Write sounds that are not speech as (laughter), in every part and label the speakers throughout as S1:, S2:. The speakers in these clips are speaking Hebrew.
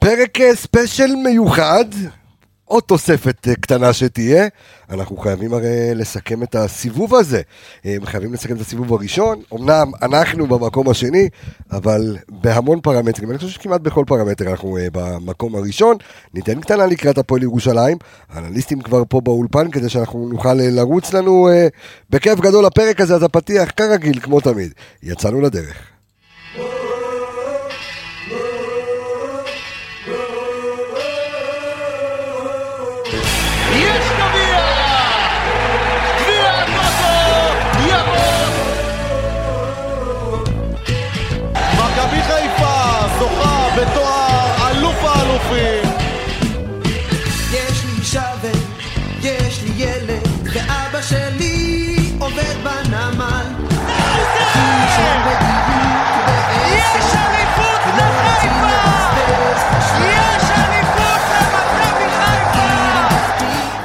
S1: פרק אה, ספיישל מיוחד, עוד תוספת אה, קטנה שתהיה. אנחנו חייבים הרי לסכם את הסיבוב הזה. אה, חייבים לסכם את הסיבוב הראשון. אמנם אנחנו במקום השני, אבל בהמון פרמטרים, אני חושב שכמעט בכל פרמטר אנחנו אה, במקום הראשון. ניתן קטנה לקראת הפועל ירושלים. האנליסטים כבר פה באולפן כדי שאנחנו נוכל אה, לרוץ לנו אה, בכיף גדול הפרק הזה, אז הפתיח כרגיל, כמו תמיד. יצאנו לדרך.
S2: יש גביע! גביע הטוטו יבוא! מכבי חיפה זוכה בתואר אלוף האלופים
S3: יש לי שווה, יש לי ילד, ואבא שלי עובד בנמל.
S2: יש אליפות לחיפה! יש אליפות למכבי חיפה!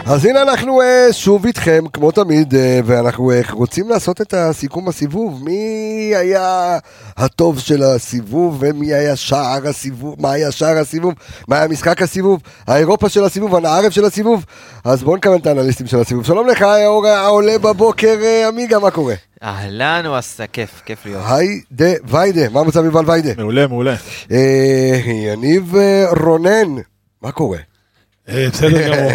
S1: אז הנה אנחנו אה, שוב איתכם, כמו תמיד, אה, ואנחנו אה, רוצים לעשות את הסיכום הסיבוב. מי היה הטוב של הסיבוב, ומי היה שער הסיבוב, מה היה שער הסיבוב, מה היה משחק הסיבוב, האירופה של הסיבוב, הנערב של הסיבוב. אז בואו נקבל את האנליסטים של הסיבוב. שלום לך, האור העולה בבוקר, אה, עמיגה, מה קורה?
S4: אהלן הוא עשה כיף, כיף להיות.
S1: היידה ויידה, מה המצב יובל ויידה?
S5: מעולה, מעולה.
S1: אה, יניב אה, רונן, מה קורה?
S5: אה,
S1: (laughs)
S5: בסדר גמור.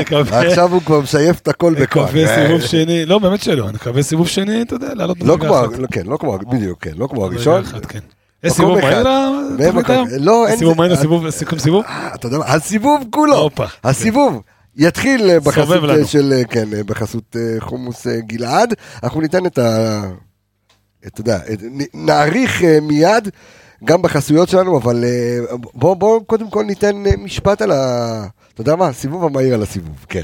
S5: נקווה-
S1: עכשיו הוא כבר משייף את הכל בכוח.
S5: נקווה סיבוב שני, לא באמת שלא, נקווה סיבוב שני, אתה יודע, לעלות
S1: לא
S5: מדרגה
S1: כמו,
S5: אחת.
S1: לא, כן, לא כמו, בדיוק, כן, לא כמו
S5: מדרגה
S1: הראשון.
S5: אחת, כן. יש סיבוב
S1: אחד.
S5: מהיר
S1: ו-
S5: לתוכנית
S1: מקום-
S5: היום?
S1: לא, אין
S5: סיבוב
S1: זה-
S5: מהיר
S1: אה,
S5: לסיבוב, סיכום סיבוב?
S1: אה, אתה יודע מה, הסיבוב כולו,
S5: הופה. כן.
S1: הסיבוב. יתחיל אה, בחסות
S5: סובב לנו.
S1: אה, של, אה, כן, אה, בחסות אה, חומוס אה, גלעד. אנחנו ניתן את ה... אתה יודע, את- נ- נעריך אה, מיד, גם בחסויות שלנו, אבל אה, בוא, בוא קודם כל ניתן אה, משפט על ה... אתה יודע מה? הסיבוב המהיר על הסיבוב, כן.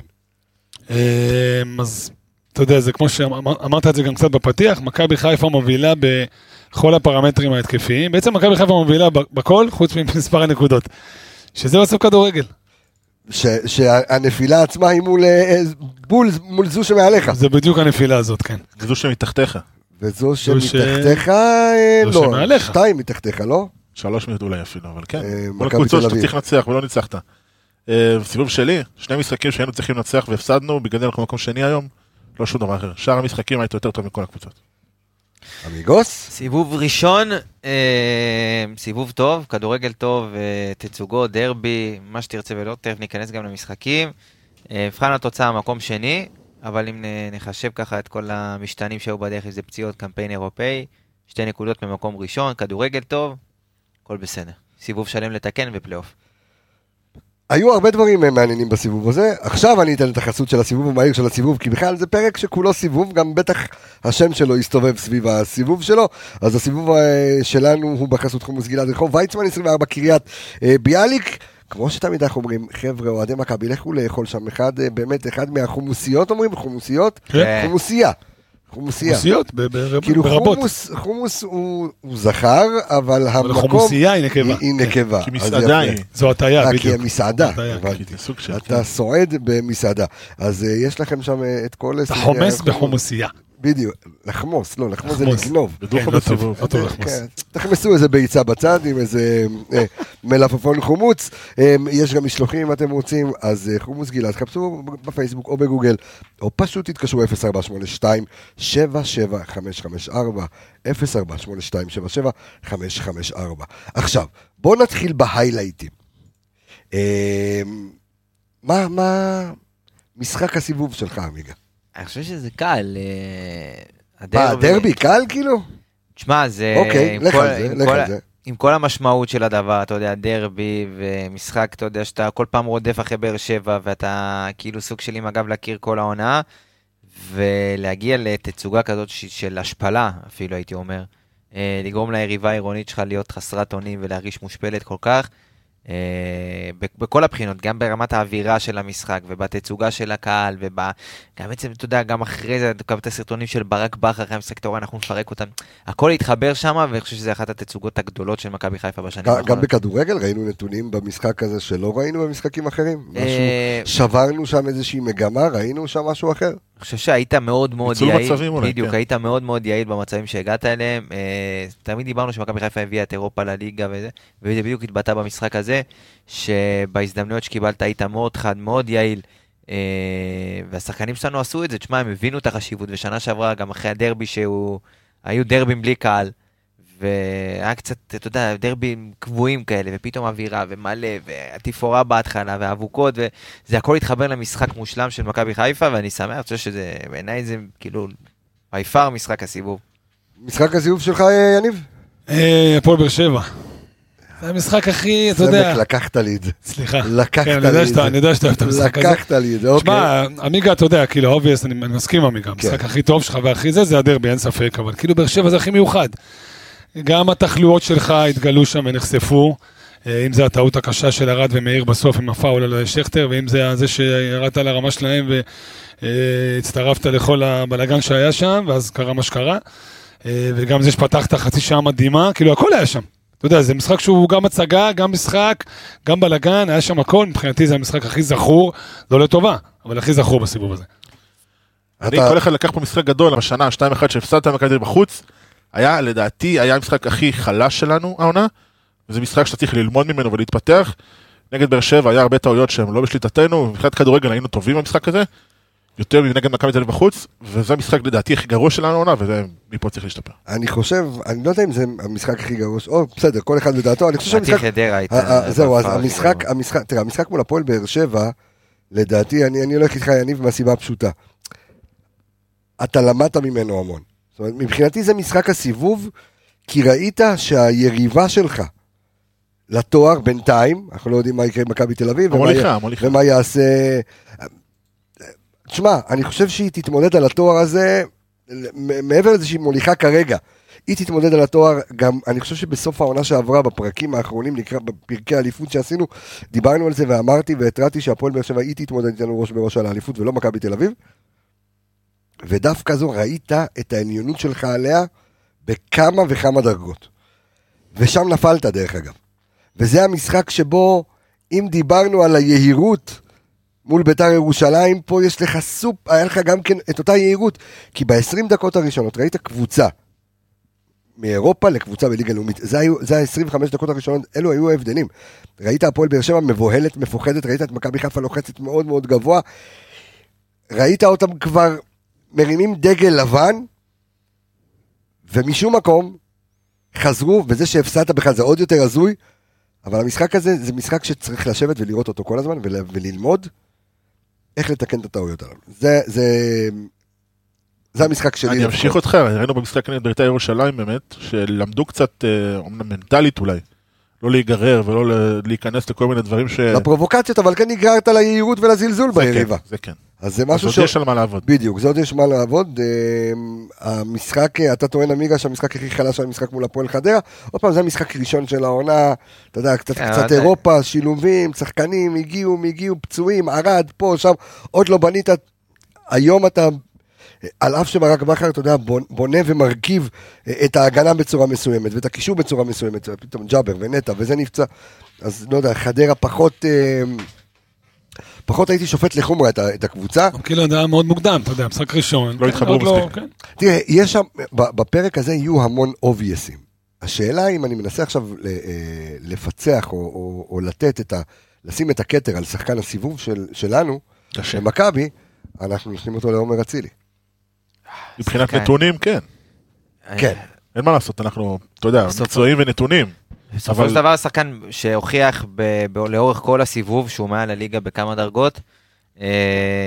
S5: אה, אז אתה יודע, זה כמו שאמרת את זה גם קצת בפתיח, מכבי חיפה מובילה בכל הפרמטרים ההתקפיים. בעצם מכבי חיפה מובילה ב- בכל, חוץ ממספר הנקודות. שזה בסוף כדורגל.
S1: כן. ש, שהנפילה עצמה היא מול, אה, בול, מול זו שמעליך.
S5: זה בדיוק הנפילה הזאת, כן.
S6: זו שמתחתיך,
S1: וזו
S5: זו ש-
S1: שמתחתיך, אה,
S5: זו
S1: לא,
S5: שמעליך.
S1: שתיים מתחתיך, לא?
S6: שלוש מאות אולי אפילו, אבל כן.
S1: אה, מכבי
S6: מול קבוצות
S1: תל אביב.
S6: שאתה צריך לנצח ולא ניצחת. אה, סיבוב שלי, שני משחקים שהיינו צריכים לנצח והפסדנו, בגלל זה אנחנו במקום שני היום, לא שום דבר אחר. שאר המשחקים היית יותר טוב מכל הקבוצות.
S1: אמיגוס?
S4: סיבוב ראשון, אה, סיבוב טוב, כדורגל טוב, אה, תצוגות, דרבי, מה שתרצה ולא, תכף ניכנס גם למשחקים. אה, מבחן התוצאה, מקום שני, אבל אם נ- נחשב ככה את כל המשתנים שהיו בדרך, אם זה פציעות, קמפיין אירופאי, שתי נקודות ממקום ראשון, כדורגל טוב, הכל בסדר. סיבוב שלם לתקן ופלייאוף.
S1: היו הרבה דברים אה, מעניינים בסיבוב הזה, עכשיו אני אתן את החסות של הסיבוב המהיר של הסיבוב, כי בכלל זה פרק שכולו סיבוב, גם בטח השם שלו יסתובב סביב הסיבוב שלו, אז הסיבוב אה, שלנו הוא בחסות חומוס גלעד רחוב ויצמן 24 קריית אה, ביאליק. כמו שתמיד אנחנו אומרים, חבר'ה, אוהדי מכבי, לכו לאכול שם אחד, אה, באמת, אחד מהחומוסיות אומרים, חומוסיות?
S5: כן.
S4: אה,
S1: חומוסייה. חומוסייה.
S5: חומוסיות, ב- ב-
S1: כאילו
S5: ברבות.
S1: חומוס, חומוס הוא, הוא זכר, אבל
S5: אבל
S1: המקום
S5: חומוסייה היא נקבה.
S1: היא נקבה.
S6: כי
S1: אז
S6: מסעדה
S1: יפה.
S6: היא.
S5: זו הטעיה,
S1: אה, כי
S5: בדיוק.
S1: המסעדה,
S5: הטעיה,
S1: הבנתי.
S6: כי זה סוג של... כן,
S1: אתה סועד במסעדה. אז אה, יש לכם שם אה, את כל...
S5: אתה
S1: סוגי
S5: חומס
S1: החומוס.
S5: בחומוסייה.
S1: בדיוק. לחמוס, לא, לחמוס זה
S5: לחמוס.
S1: לגנוב.
S6: בדו
S5: כן,
S6: חום
S5: לא טוב,
S6: בסיבוב.
S5: לא טוב לחמוס.
S1: כן, תחמסו איזה ביצה בצד עם איזה אה, מלפפון חומוץ. אה, יש גם משלוחים אם אתם רוצים, אז אה, חומוס גלעד, חפשו בפייסבוק או בגוגל, או פשוט תתקשרו 0482-77554, 0482-77554. עכשיו, בואו נתחיל בהיילייטים. אה, מה, מה משחק הסיבוב שלך, עמיגה?
S4: אני חושב שזה קל. אה,
S1: מה, הדרבי קל כאילו?
S4: תשמע, זה...
S1: אוקיי,
S4: אה, עם
S1: לך
S4: כל-
S1: על זה,
S4: עם
S1: לך
S4: כל-
S1: על זה.
S4: עם כל המשמעות של הדבר, אתה יודע, דרבי ומשחק, אתה יודע, שאתה כל פעם רודף אחרי באר שבע, ואתה כאילו סוג של עם הגב לקיר כל העונה, ולהגיע לתצוגה כזאת ש- של השפלה, אפילו הייתי אומר, אה, לגרום ליריבה העירונית שלך להיות חסרת אונים ולהרגיש מושפלת כל כך, אה, ב- בכל הבחינות, גם ברמת האווירה של המשחק, ובתצוגה של הקהל, וב... גם בעצם, אתה יודע, גם אחרי זה, גם את הסרטונים של ברק בכר, אחרי המשחק אתה רואה, אנחנו נפרק אותם. הכל התחבר שם, ואני חושב שזה אחת התצוגות הגדולות של מכבי חיפה בשנים
S1: גם- גם
S4: האחרונות.
S1: בכדורגל ראינו נתונים במשחק הזה שלא ראינו במשחקים אחרים? משהו,
S4: אה,
S1: שברנו שם איזושהי מגמה, ראינו שם משהו אחר?
S4: אני חושב שהיית מאוד מאוד
S6: ניצול
S4: יעיל.
S6: מצבים אולי,
S4: בדיוק,
S6: כן.
S4: היית מאוד מאוד יעיל במצבים שהגעת אליהם. אה, תמיד דיברנו שמכבי חיפה הביאה את אירופה לליגה וזה, וזה בדיוק התבטא במשחק הזה. זה שבהזדמנויות שקיבלת היית מאוד חד, מאוד יעיל, אה, והשחקנים שלנו עשו את זה. תשמע, הם הבינו את החשיבות, ושנה שעברה, גם אחרי הדרבי, שהוא... היו דרבים בלי קהל, והיה קצת, אתה יודע, דרבים קבועים כאלה, ופתאום אווירה, ומלא, והתפאורה בהתחלה, והאבוקות, וזה הכל התחבר למשחק מושלם של מכבי חיפה, ואני שמח, אני חושב שזה, בעיניי זה כאילו, by far משחק הסיבוב.
S1: משחק הזיוף שלך, אה, יניב?
S5: אה, הפועל באר שבע. זה המשחק הכי, אתה יודע,
S1: סמק, לקחת לי את זה.
S5: סליחה.
S1: לקחת
S5: כן,
S1: לי
S5: אני יודע
S1: את
S5: שאתה-
S1: זה.
S5: אני יודע שאתה אוהב את המשחק הזה.
S1: לקחת לי את זה, אוקיי. כן.
S5: שמע, עמיגה, אתה יודע, כאילו, אובייס, אני אני מסכים עם עמיגה, המשחק הכי טוב שלך והכי זה, זה הדרבי, אין ספק, אבל כאילו, באר שבע זה הכי מיוחד. גם התחלואות שלך התגלו שם ונחשפו, אה, אם זה הטעות הקשה של ארד ומאיר בסוף עם הפאול על שכטר, ואם זה זה שירדת לרמה שלהם והצטרפת לכל הבלגן שהיה שם, ואז קרה מה שקרה, אה, וגם זה שפתחת חצי שעה מדהימה, כאילו, הכל היה שם. אתה יודע, זה משחק שהוא גם הצגה, גם משחק, גם בלאגן, היה שם הכל, מבחינתי זה המשחק הכי זכור, לא לטובה, אבל הכי זכור בסיבוב הזה.
S6: אני,
S1: אתה-
S6: כל אחד לקח פה משחק גדול, השנה, 2-1 שהפסדת מכבי תל אביב בחוץ, היה, לדעתי, היה המשחק הכי חלש שלנו, העונה. זה משחק שאתה צריך ללמוד ממנו ולהתפתח. נגד באר שבע היה הרבה טעויות שהן לא בשליטתנו, מבחינת כדורגל היינו טובים במשחק הזה, יותר מנגד מכבי תל אביב בחוץ, וזה המשחק לדעתי הכי גרוע שלנו העונה, וזה, מפה צריך להשתפר.
S1: אני חושב, אני לא יודע אם זה המשחק הכי גרוע, ש- או בסדר, כל אחד לדעתו, אני חושב
S4: לדעתי
S1: שהמשחק...
S4: חדרה הייתה...
S1: אה, אה, זהו, אז
S4: בפער
S1: המשחק,
S4: כאילו.
S1: המשחק, תראה, המשחק מול הפועל באר שבע, לדעתי, אני אני הולך איתך, יניב, מהסיבה הפשוטה. אתה למדת ממנו המון. זאת אומרת, מבחינתי זה משחק הסיבוב, כי ראית שהיריבה שלך לתואר בינתיים, אנחנו לא יודעים מה יקרה עם מכבי תל אביב, ומה
S6: המוליכה,
S1: יהיה-
S6: המוליכה.
S1: ומה יעשה... תשמע, אני חושב שהיא תתמודד על התואר הזה, מ- מעבר לזה שהיא מוליכה כרגע. היא תתמודד על התואר, גם אני חושב שבסוף העונה שעברה, בפרקים האחרונים, לקראת- בפרקי האליפות שעשינו, דיברנו על זה ואמרתי והתרעתי שהפועל באר שבע היא תתמודד איתנו ראש בראש על האליפות ולא מכבי תל אביב. ודווקא זו ראית את העליונות שלך עליה בכמה וכמה דרגות. ושם נפלת דרך אגב. וזה המשחק שבו, אם דיברנו על היהירות מול ביתר ירושלים, פה יש לך סופ, היה לך גם כן את אותה יהירות. כי ב-20 דקות הראשונות ראית קבוצה מאירופה לקבוצה בליגה לאומית. זה, היו, זה ה-25 דקות הראשונות, אלו היו ההבדלים. ראית הפועל באר שבע מבוהלת, מפוחדת, ראית את מכבי חיפה לוחצת מאוד מאוד גבוה. ראית אותם כבר מרימים דגל לבן, ומשום מקום חזרו, וזה שהפסדת בכלל זה עוד יותר הזוי, אבל המשחק הזה זה משחק שצריך לשבת ולראות אותו כל הזמן ול, וללמוד איך לתקן את הטעויות הללו. זה, זה, זה המשחק שלי.
S6: אני
S1: לפחות.
S6: אמשיך אותך, ראינו במשחק נגד בית"ר ירושלים באמת, שלמדו קצת, אה, אומנם מנטלית אולי, לא להיגרר ולא ל- להיכנס לכל מיני דברים ש...
S1: לפרובוקציות, אבל כן נגררת ליהירות ולזלזול
S6: זה כן,
S1: ביריבה.
S6: זה כן.
S1: אז זה
S6: משהו
S1: משהו
S6: ש...
S1: ש...
S6: יש על מה לעבוד.
S1: בדיוק, זה עוד יש מה לעבוד. אמ, המשחק, אה, אתה טוען עמיגה שהמשחק הכי חלש היה משחק מול הפועל חדרה. עוד פעם, זה המשחק הראשון של העונה, אתה יודע, קצת,
S4: כן,
S1: קצת
S4: אבל-
S1: אירופה, שילובים, שחקנים, הגיעו, הגיעו, פצועים, ערד, פה, שם, עוד לא בנית. היום אתה, על אף שברק בכר, אתה יודע, בונ- בונה ומרכיב אה, את ההגנה בצורה מסוימת, ואת הקישור בצורה מסוימת, פתאום ג'אבר ונטע, וזה נפצע. אז לא יודע, חדרה פחות... אמ, פחות הייתי שופט לחומרה את ה- את הקבוצה.
S5: כאילו, זה היה מאוד מוקדם, אתה יודע, משחק ראשון. כן,
S6: התחברו
S5: עוד לא-
S6: מספיק.
S5: כן.
S1: תראה, יש שם, ב- בפרק הזה יהיו המון אובייסים. השאלה אם אני מנסה עכשיו ל- אה, לפצח או, או, או לתת את ה... לשים את הכתר על שחקן הסיבוב של, שלנו,
S4: כן.
S6: קשה.
S1: במכבי, אנחנו נותנים אותו לעומר אצילי.
S6: מבחינת
S4: שחקן.
S6: נתונים, כן.
S4: אה,
S1: כן.
S6: אין מה לעשות, אנחנו, אתה יודע,
S4: בסוף-
S6: מקצועיים ונתונים.
S4: בסופו
S6: אבל-
S4: של דבר שחקן שהוכיח ב- ב- לאורך כל הסיבוב שהוא מעל הליגה בכמה דרגות. אה,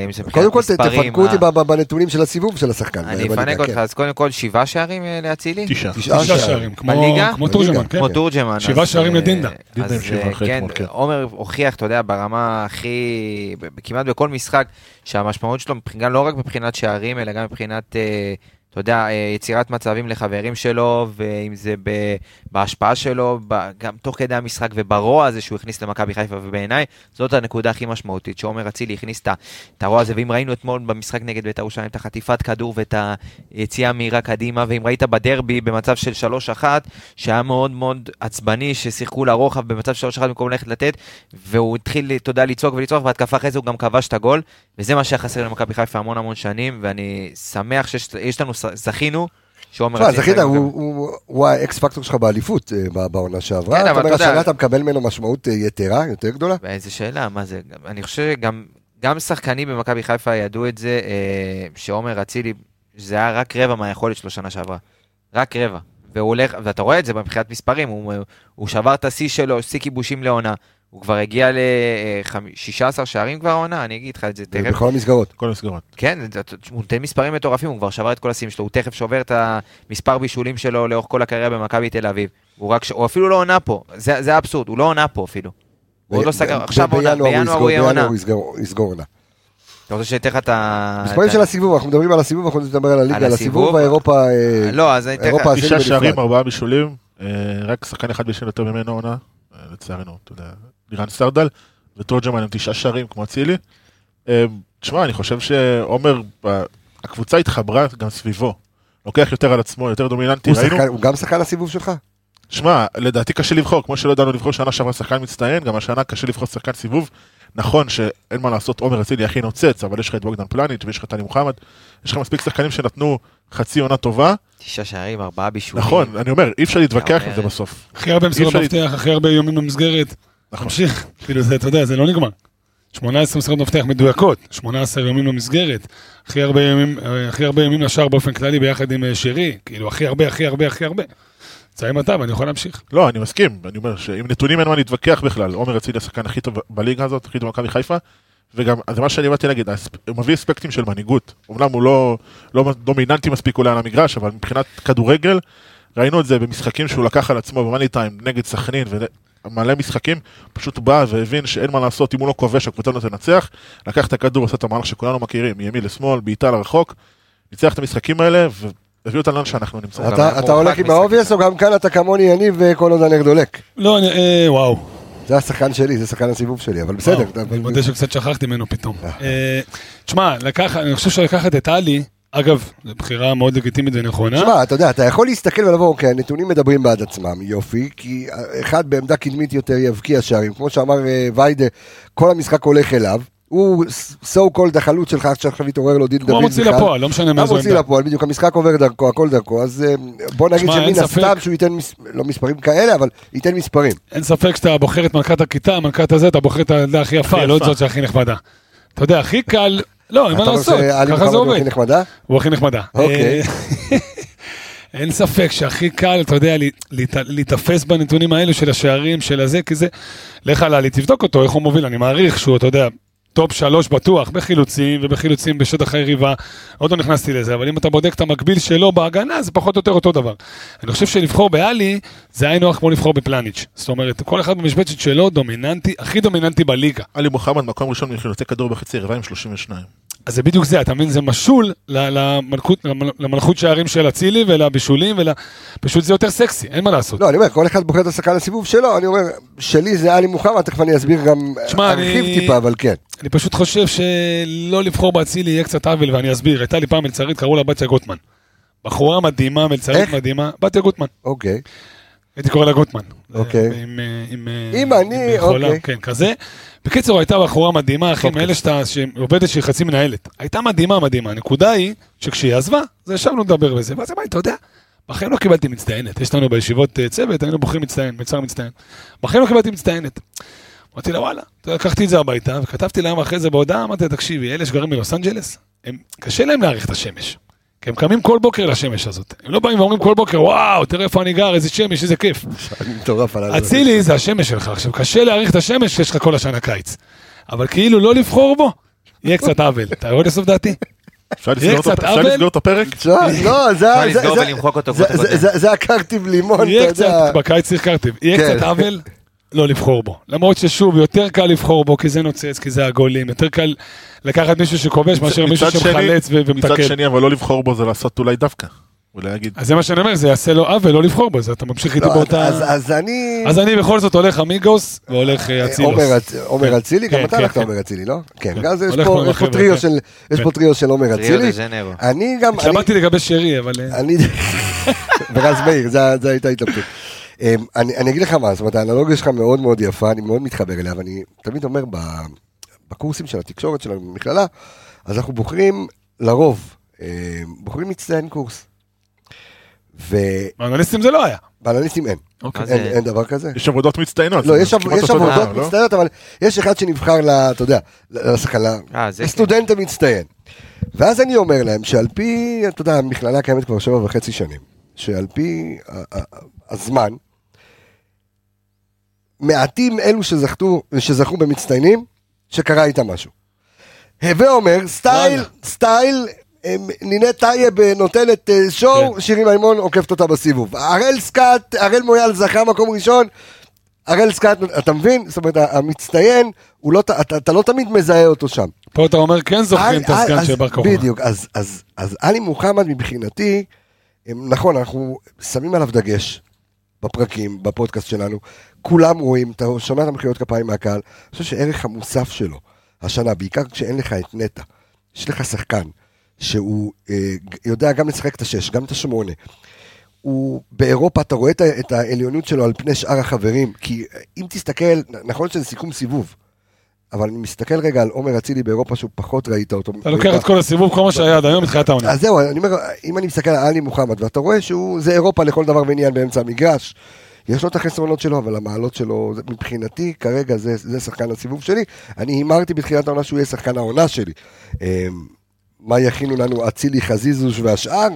S4: אם זה מבחינת
S1: קודם כל, ת-
S4: מספרים,
S1: תפנקו אותי
S4: אה,
S1: ב- ב- בנתונים של הסיבוב של השחקן.
S4: אני
S1: בליגה,
S4: אפנק אותך,
S1: כן.
S4: אז קודם כל שבעה שערים אה, לאצילי?
S6: תשעה.
S1: תשעה
S5: תשעה
S1: שערים.
S5: שערים, כמו-
S4: בליגה?
S5: כמו
S1: בליגה.
S5: תורג'מן, כן.
S4: כמו תורג'מן.
S5: שבעה
S4: אז,
S5: שערים
S4: אה,
S5: לדינדה.
S6: דינדה
S4: אז
S6: עם שבעה
S4: אה,
S6: אחרי
S4: כן,
S6: אתמול, כן.
S4: עומר הוכיח, אתה יודע, ברמה הכי, ב- כמעט בכל משחק, שהמשמעות שלו, מבח- גם לא רק מבחינת שערים, אלא גם מבחינת, אה, אתה יודע, אה, יצירת מצבים לחברים שלו, ואם זה ב- בהשפעה שלו, ב- גם תוך כדי המשחק, וברוע הזה שהוא הכניס למכבי חיפה, ובעיניי, זאת הנקודה הכי משמעותית, שעומר אצילי הכניס את ה- את הרוע הזה, ואם ראינו אתמול במשחק נגד בית"ר ירושלים את החטיפת כדור ואת היציאה המהירה קדימה, ואם ראית בדרבי במצב של 3-1, שהיה מאוד מאוד עצבני, ששיחקו לרוחב במצב של 3-1 במקום ללכת לתת, והוא התחיל, אתה יודע, לצעוק ולצעוק, והתקפה אחרי זה הוא גם כבש את הגול, וזה מה שהיה חסר למכבי חיפה המון המון שנים, ואני שמח שיש יש לנו, זכינו שעומר...
S1: תשמע,
S4: אצילי
S1: זכית,
S4: חייב
S1: הוא-
S4: לקבל.
S1: הוא- הוא האקס פקטור שלך באליפות אה, ב- בעונה שעברה.
S4: כן,
S1: אתה
S4: אבל
S1: אומר,
S4: אתה יודע-
S1: השנה אתה מקבל ממנו משמעות אה, יתרה, יותר גדולה.
S4: איזה שאלה, מה זה, גם- אני חושב שגם גם שחקנים במכבי חיפה ידעו את זה, אה, שעומר אצילי, זה היה רק רבע מהיכולת שלו שנה שעברה. רק רבע. והוא הולך, ואתה רואה את זה מבחינת מספרים, הוא, הוא שבר את השיא שלו, שיא כיבושים לעונה. הוא כבר הגיע אה, ל-16 שערים כבר העונה, אני אגיד לך את זה תכף.
S1: בכל המסגרות.
S6: כל המסגרות.
S4: כן, זה- אתה- הוא נותן מספרים מטורפים, הוא כבר שבר את כל השיאים שלו, הוא תכף שובר את המספר בישולים שלו לאורך כל הקריירה במכבי תל אביב. הוא, רק, ש- הוא אפילו לא עונה פה, זה, זה האבסורד, הוא לא עונה פה אפילו. הוא עוד לא
S1: ב-
S4: סגר,
S1: ב-
S4: עכשיו עונה,
S1: בינואר
S4: בינואר
S1: יסגור-
S4: הוא יהיה
S1: בינואר
S4: עונה.
S1: הוא יסגור- יסגור עונה.
S4: אתה רוצה שאני אתן לך את ה...
S1: מספרים
S4: את
S1: של
S4: ה-
S1: הסיבוב, אנחנו מדברים על הסיבוב, אנחנו נדבר על הליגה, על הסיבוב,
S4: הסיבוב.
S1: האירופה... אה,
S4: לא, אז אני אתן לך...
S1: אירופה אז-
S6: תשעה
S1: בנפרד.
S6: שערים, ארבעה בישולים, אה, רק שחקן אחד בישל יותר ממנו עונה, אה, לצערנו, אתה יודע, לירן סרדל, וטורג'מן עם תשעה שערים כמו אצילי. אה, תשמע, אני חושב שעומר, ב- הקבוצה התחברה גם סביבו. לוקח יותר על עצמו, יותר דומיננטי,
S1: הוא
S6: ראינו,
S1: שחקן- הוא גם שחקן הסיבוב שלך?
S6: שמע, לדעתי קשה לבחור, כמו שלא ידענו לבחור שנה שעברה שחקן מצטיין, גם השנה קשה לבחור שחקן סיבוב. נכון שאין מה לעשות, עומר אצילי הכי נוצץ, אבל יש לך את בוגדן פלניץ' ויש לך את טלי מוחמד, יש לך מספיק שחקנים שנתנו חצי עונה טובה.
S4: תשעה שערים, ארבעה בישולים.
S6: נכון, אני אומר, אי אפשר להתווכח עם
S4: אומר.
S6: זה בסוף.
S5: הכי הרבה מסירות
S6: אפשר
S5: מפתח, הכי הרבה איומים במסגרת.
S6: נכון.
S5: תמשיך, כאילו זה, אתה יודע, זה לא נגמר. 18 מסירות מפתח מדויקות, 18 איומים במסגרת, הכי הרבה איומים, אה, הכי הרבה איומים לשער באופן כללי ביחד עם אה, שרי, כאילו הכי הרבה, הכי הרבה, הכי הרבה. תסיים אתה ואני יכול להמשיך.
S6: לא, אני מסכים, אני אומר שעם נתונים אין מה להתווכח בכלל. עומר אצילי השחקן הכי טוב בליגה הזאת, הכי טוב במכבי חיפה, וגם, זה מה שאני באתי להגיד, האספ- הוא מביא אספקטים של מנהיגות. אמנם הוא לא, לא דומיננטי מספיק אולי על המגרש, אבל מבחינת כדורגל, ראינו את זה במשחקים שהוא לקח על עצמו במאני טיים נגד סכנין ומלא משחקים, פשוט בא והבין שאין מה לעשות, אם הוא לא כובש הקבוצה לא תנצח, לקח את הכדור, עשה את המהלך שכולנו מכירים, מימין לשמאל, בעיטה לרחוק, ניצח את המשחקים האלה, והביא אותנו לאן שאנחנו נמצאים.
S4: היה
S1: אתה אתה
S4: מורחק
S1: הולך עם
S4: משחק
S1: האובייס
S4: אחד.
S1: או גם כאן אתה כמוני יניב וכל עוד הנר דולק?
S5: לא, אני, אה, וואו,
S1: זה השחקן שלי, זה שחקן הסיבוב שלי, אבל בסדר.
S5: וואו,
S1: אתה-
S5: אה, אני מודה שקצת שכחתי ממנו פתאום. אה, תשמע, לקח- אני חושב שלקחת את טלי, אגב, זו בחירה מאוד לגיטימית ונכונה.
S1: תשמע, אתה יודע, אתה יכול להסתכל ולבוא, אוקיי, הנתונים מדברים בעד עצמם, יופי, כי אה, אחד בעמדה קדמית יותר יבקיע שערים, כמו שאמר אה, ויידה, כל המשחק הולך אליו, הוא so called החלוץ שלך, עד שעכשיו התעורר לו דין דוד
S5: הוא המוציא
S1: בכלל.
S5: לפועל, לא משנה
S1: אתה
S5: מאיזו
S1: מוציא
S5: עמדה.
S1: לפועל, בדיוק, המשחק עובר דרכו, הכל דרכו, אז אה, בוא נגיד
S5: תשמע, אין
S1: שמן
S5: ספק.
S1: הסתם שהוא ייתן, מס- לא מספרים כאלה, אבל ייתן מספרים.
S5: אין ספק שאתה בוחר את מלכת הכיתה, מלכת הזה, אתה בוחר את הילדה הכי יפה,
S6: הכי
S5: לא את
S6: יפה.
S5: זאת שהכי נחמדה. אתה יודע, הכי קל, לא, אין מה
S1: אתה
S5: לעשות,
S1: רוצה, עלי
S5: ככה
S1: מוחמד
S5: זה
S1: הוא
S5: עובד.
S1: הכי נחמדה?
S5: הוא הכי נחמדה.
S1: אוקיי.
S5: אה, אין ספק שהכי קל, אתה יודע, להת- להת- להיתפס בנתונים האלו של השערים, של הזה, כי זה... לך עלי, תבדוק אותו, איך הוא מוביל, אני מעריך שהוא, אתה יודע, טופ שלוש בטוח, בחילוצים ובחילוצים בשטח היריבה, עוד לא נכנסתי לזה, אבל אם אתה בודק את המקביל שלו בהגנה, זה פחות או יותר אותו דבר. אני חושב שלבחור בעלי, זה היינו הך כמו לבחור בפלניץ'. זאת אומרת, כל אחד במשבצת שלו דומיננטי, הכי דומיננטי בליגה.
S6: עלי מוחמד מקום ראשון מחילוצי כדור בחצי רבע עם 32.
S5: אז זה בדיוק זה, אתה מבין? זה משול ל- למלכות, למל- למלכות שערים של אצילי ולבישולים ול... פשוט זה יותר סקסי, אין מה לעשות.
S1: לא, אני אומר, כל אחד בוחר את השחקן לסיבוב שלו, אני אומר, שלי זה עלי מוחמד, תכף אני אסביר גם, אה,
S5: תשמע,
S1: ארחיב
S5: אני-
S1: טיפה, אבל כן.
S5: אני פשוט חושב שלא לבחור באצילי יהיה קצת עוול, ואני אסביר. הייתה לי פעם מלצרית, קראו לה בתיה גוטמן. בחורה מדהימה, מלצרית
S1: איך?
S5: מדהימה, בתיה גוטמן.
S1: אוקיי.
S5: הייתי קורא לה גוטמן.
S1: אוקיי.
S5: אה, עם, אה, עם, אה,
S1: אם אני,
S5: עם חולה,
S1: אוקיי.
S5: כן, כזה. בקיצור, הייתה בחורה מדהימה, אחי, מאלה שאתה, שעובדת שהיא חצי מנהלת. הייתה מדהימה, מדהימה. הנקודה היא, שכשהיא עזבה, אז ישבנו לדבר בזה, ואז אמרתי, אתה יודע, בחיים לא קיבלתי מצטיינת. יש לנו בישיבות אה, צוות, היינו בוחרים מצטיין, מצער מצטיין. בחיים לא קיבלתי מצטיינת. אמרתי לה, וואלה, אתה יודע, לקחתי את זה הביתה, וכתבתי להם אחרי זה בהודעה, אמרתי לה, תקשיבי, אלה שגרים בלוס אנג'לס, הם- קשה להם להעריך את השמש. כי הם קמים כל בוקר לשמש הזאת. הם לא באים ואומרים כל בוקר, וואו, תראה איפה אני גר, איזה שמש, איזה כיף.
S1: אני מטורף על ה-
S5: אצילי זה השמש שלך, עכשיו קשה להעריך את השמש שיש לך כל השנה קיץ. אבל כאילו לא לבחור בו, יהיה קצת עוול. אתה יורד לסוף דעתי?
S6: אפשר
S5: יהיה
S6: לסגור את-
S5: קצת
S6: אפשר
S5: עוול?
S6: לסגור את הפרק?
S1: תשמע, לא, זה...
S4: אפשר לסגור
S1: זה-
S4: ולמחוק אותו
S1: זה-
S4: כמו את
S1: זה-
S4: הקודם.
S1: זה- זה הקרתי עם לימון, אתה
S5: יהיה
S1: יודע.
S5: קצת, בקיץ שיחקתם, יהיה
S1: כן.
S5: קצת עוול לא לבחור בו. למרות ששוב, יותר קל לבחור בו, כי זה נוצץ, כי זה הגולים, יותר קל לקחת מישהו שכובש מאשר מישהו
S6: מצד שני-
S5: שמחלץ ו-
S6: מצד
S5: ומתקל.
S6: שני, אבל לא לבחור בו זה לעשות אולי דווקא. אולי להגיד,
S5: אז זה מה שאני אומר, זה יעשה לו עוול לא לבחור בו, אז אתה ממשיך איתי
S1: לא,
S5: באותה...
S1: אז- אז אני...
S5: אז אני בכל זאת הולך אמיגוס והולך אה, אצילוס.
S1: עומר אצ- עומר אצילי, גם
S5: כן,
S1: אתה
S5: כן,
S1: הלכת
S5: כן.
S1: עומר אצילי, לא? כן,
S5: כן.
S1: אז יש
S5: הולך
S1: פה-
S5: מול
S1: יש פה
S5: החבר'ה,
S1: טריו
S5: כן.
S1: של- יש פה טריו של עומר
S4: ריו דה
S1: אצילי.
S4: ז'נרו.
S1: אני גם... אני-
S5: התלבטתי לגבי שרי, אבל... אה,
S1: אני... ורז מאיר, זה זה הייתה התלבטות. אמ, אני אני אגיד לך מה, זאת אומרת, האנלוגיה שלך מאוד מאוד יפה, אני מאוד מתחבר אליה, ואני תמיד אומר, ב- בקורסים של התקשורת שלנו במכללה, אז אנחנו בוחרים לרוב, אמ, בוחרים מצטיין קורס.
S5: מאנליסטים זה לא היה.
S1: ובלניסטים אין.
S4: מה זה?
S1: אין, אין דבר כזה.
S6: יש עבודות מצטיינות.
S1: לא, יש עב-
S6: כמעט
S1: יש
S6: אותו
S1: עבודות
S6: דבר, לא?
S1: מצטיינות, אבל יש אחד שנבחר, ל- אתה יודע, ל- לשחקן, ל-
S4: אה, זה כן.
S1: לסטודנט המצטיין. ואז אני אומר להם שעל פי, אתה יודע, המכללה קיימת כבר שבע וחצי שנים, שעל פי ה- ה- הזמן, מעטים אלו שזכתו, שזכו במצטיינים, שקרה איתם משהו. הווה אומר, סטייל,
S5: וואלה.
S1: סטייל, אמ, נינת טייב אה, נותנת אה, שואו,
S5: כן.
S1: שירי מימון עוקפת אותה בסיבוב. הראל סקאט, הראל מויאל זכה מקום ראשון, הראל סקאט, אתה מבין? זאת אומרת, המצטיין, הוא לא, ת- אתה, אתה לא תמיד מזהה אותו שם.
S5: פה אתה אומר כן זוכרים
S1: אל-
S5: את הסגן
S1: אה, אז-
S5: של בר כוכבא.
S1: בדיוק, אז, אז, אז עלי מוחמד מבחינתי, הם- נכון, אנחנו שמים עליו דגש בפרקים, בפודקאסט שלנו, כולם רואים, אתה שומע את המחיאות כפיים מהקהל, אני חושב שערך המוסף שלו השנה, בעיקר כשאין לך את נטע, יש לך שחקן שהוא אה, ג- יודע גם לשחק את השש, גם את השמונה. הוא באירופה, אתה רואה את ה- את העליונות שלו על פני שאר החברים, כי אה, אם תסתכל, נ- נכון שזה סיכום סיבוב, אבל אני מסתכל רגע על עומר אצילי באירופה שהוא פחות ראית אותו.
S5: אתה לוקח את כל הסיבוב, כל מה שהיה עד היום, מתחילת העונה.
S1: אז זהו, אני אומר, אם אני מסתכל על עלי מוחמד, ואתה רואה שהוא, זה אירופה לכל דבר ועניין באמצע המגרש, יש לו את החסרונות שלו, אבל המעלות שלו, זה- מבחינתי, כרגע זה, זה שחקן הסיבוב שלי. אני הימרתי בתחילת העונה שהוא יהיה שחקן העונה שלי. אמ, מה יכינו לנו אצילי, חזיזוש והשאר?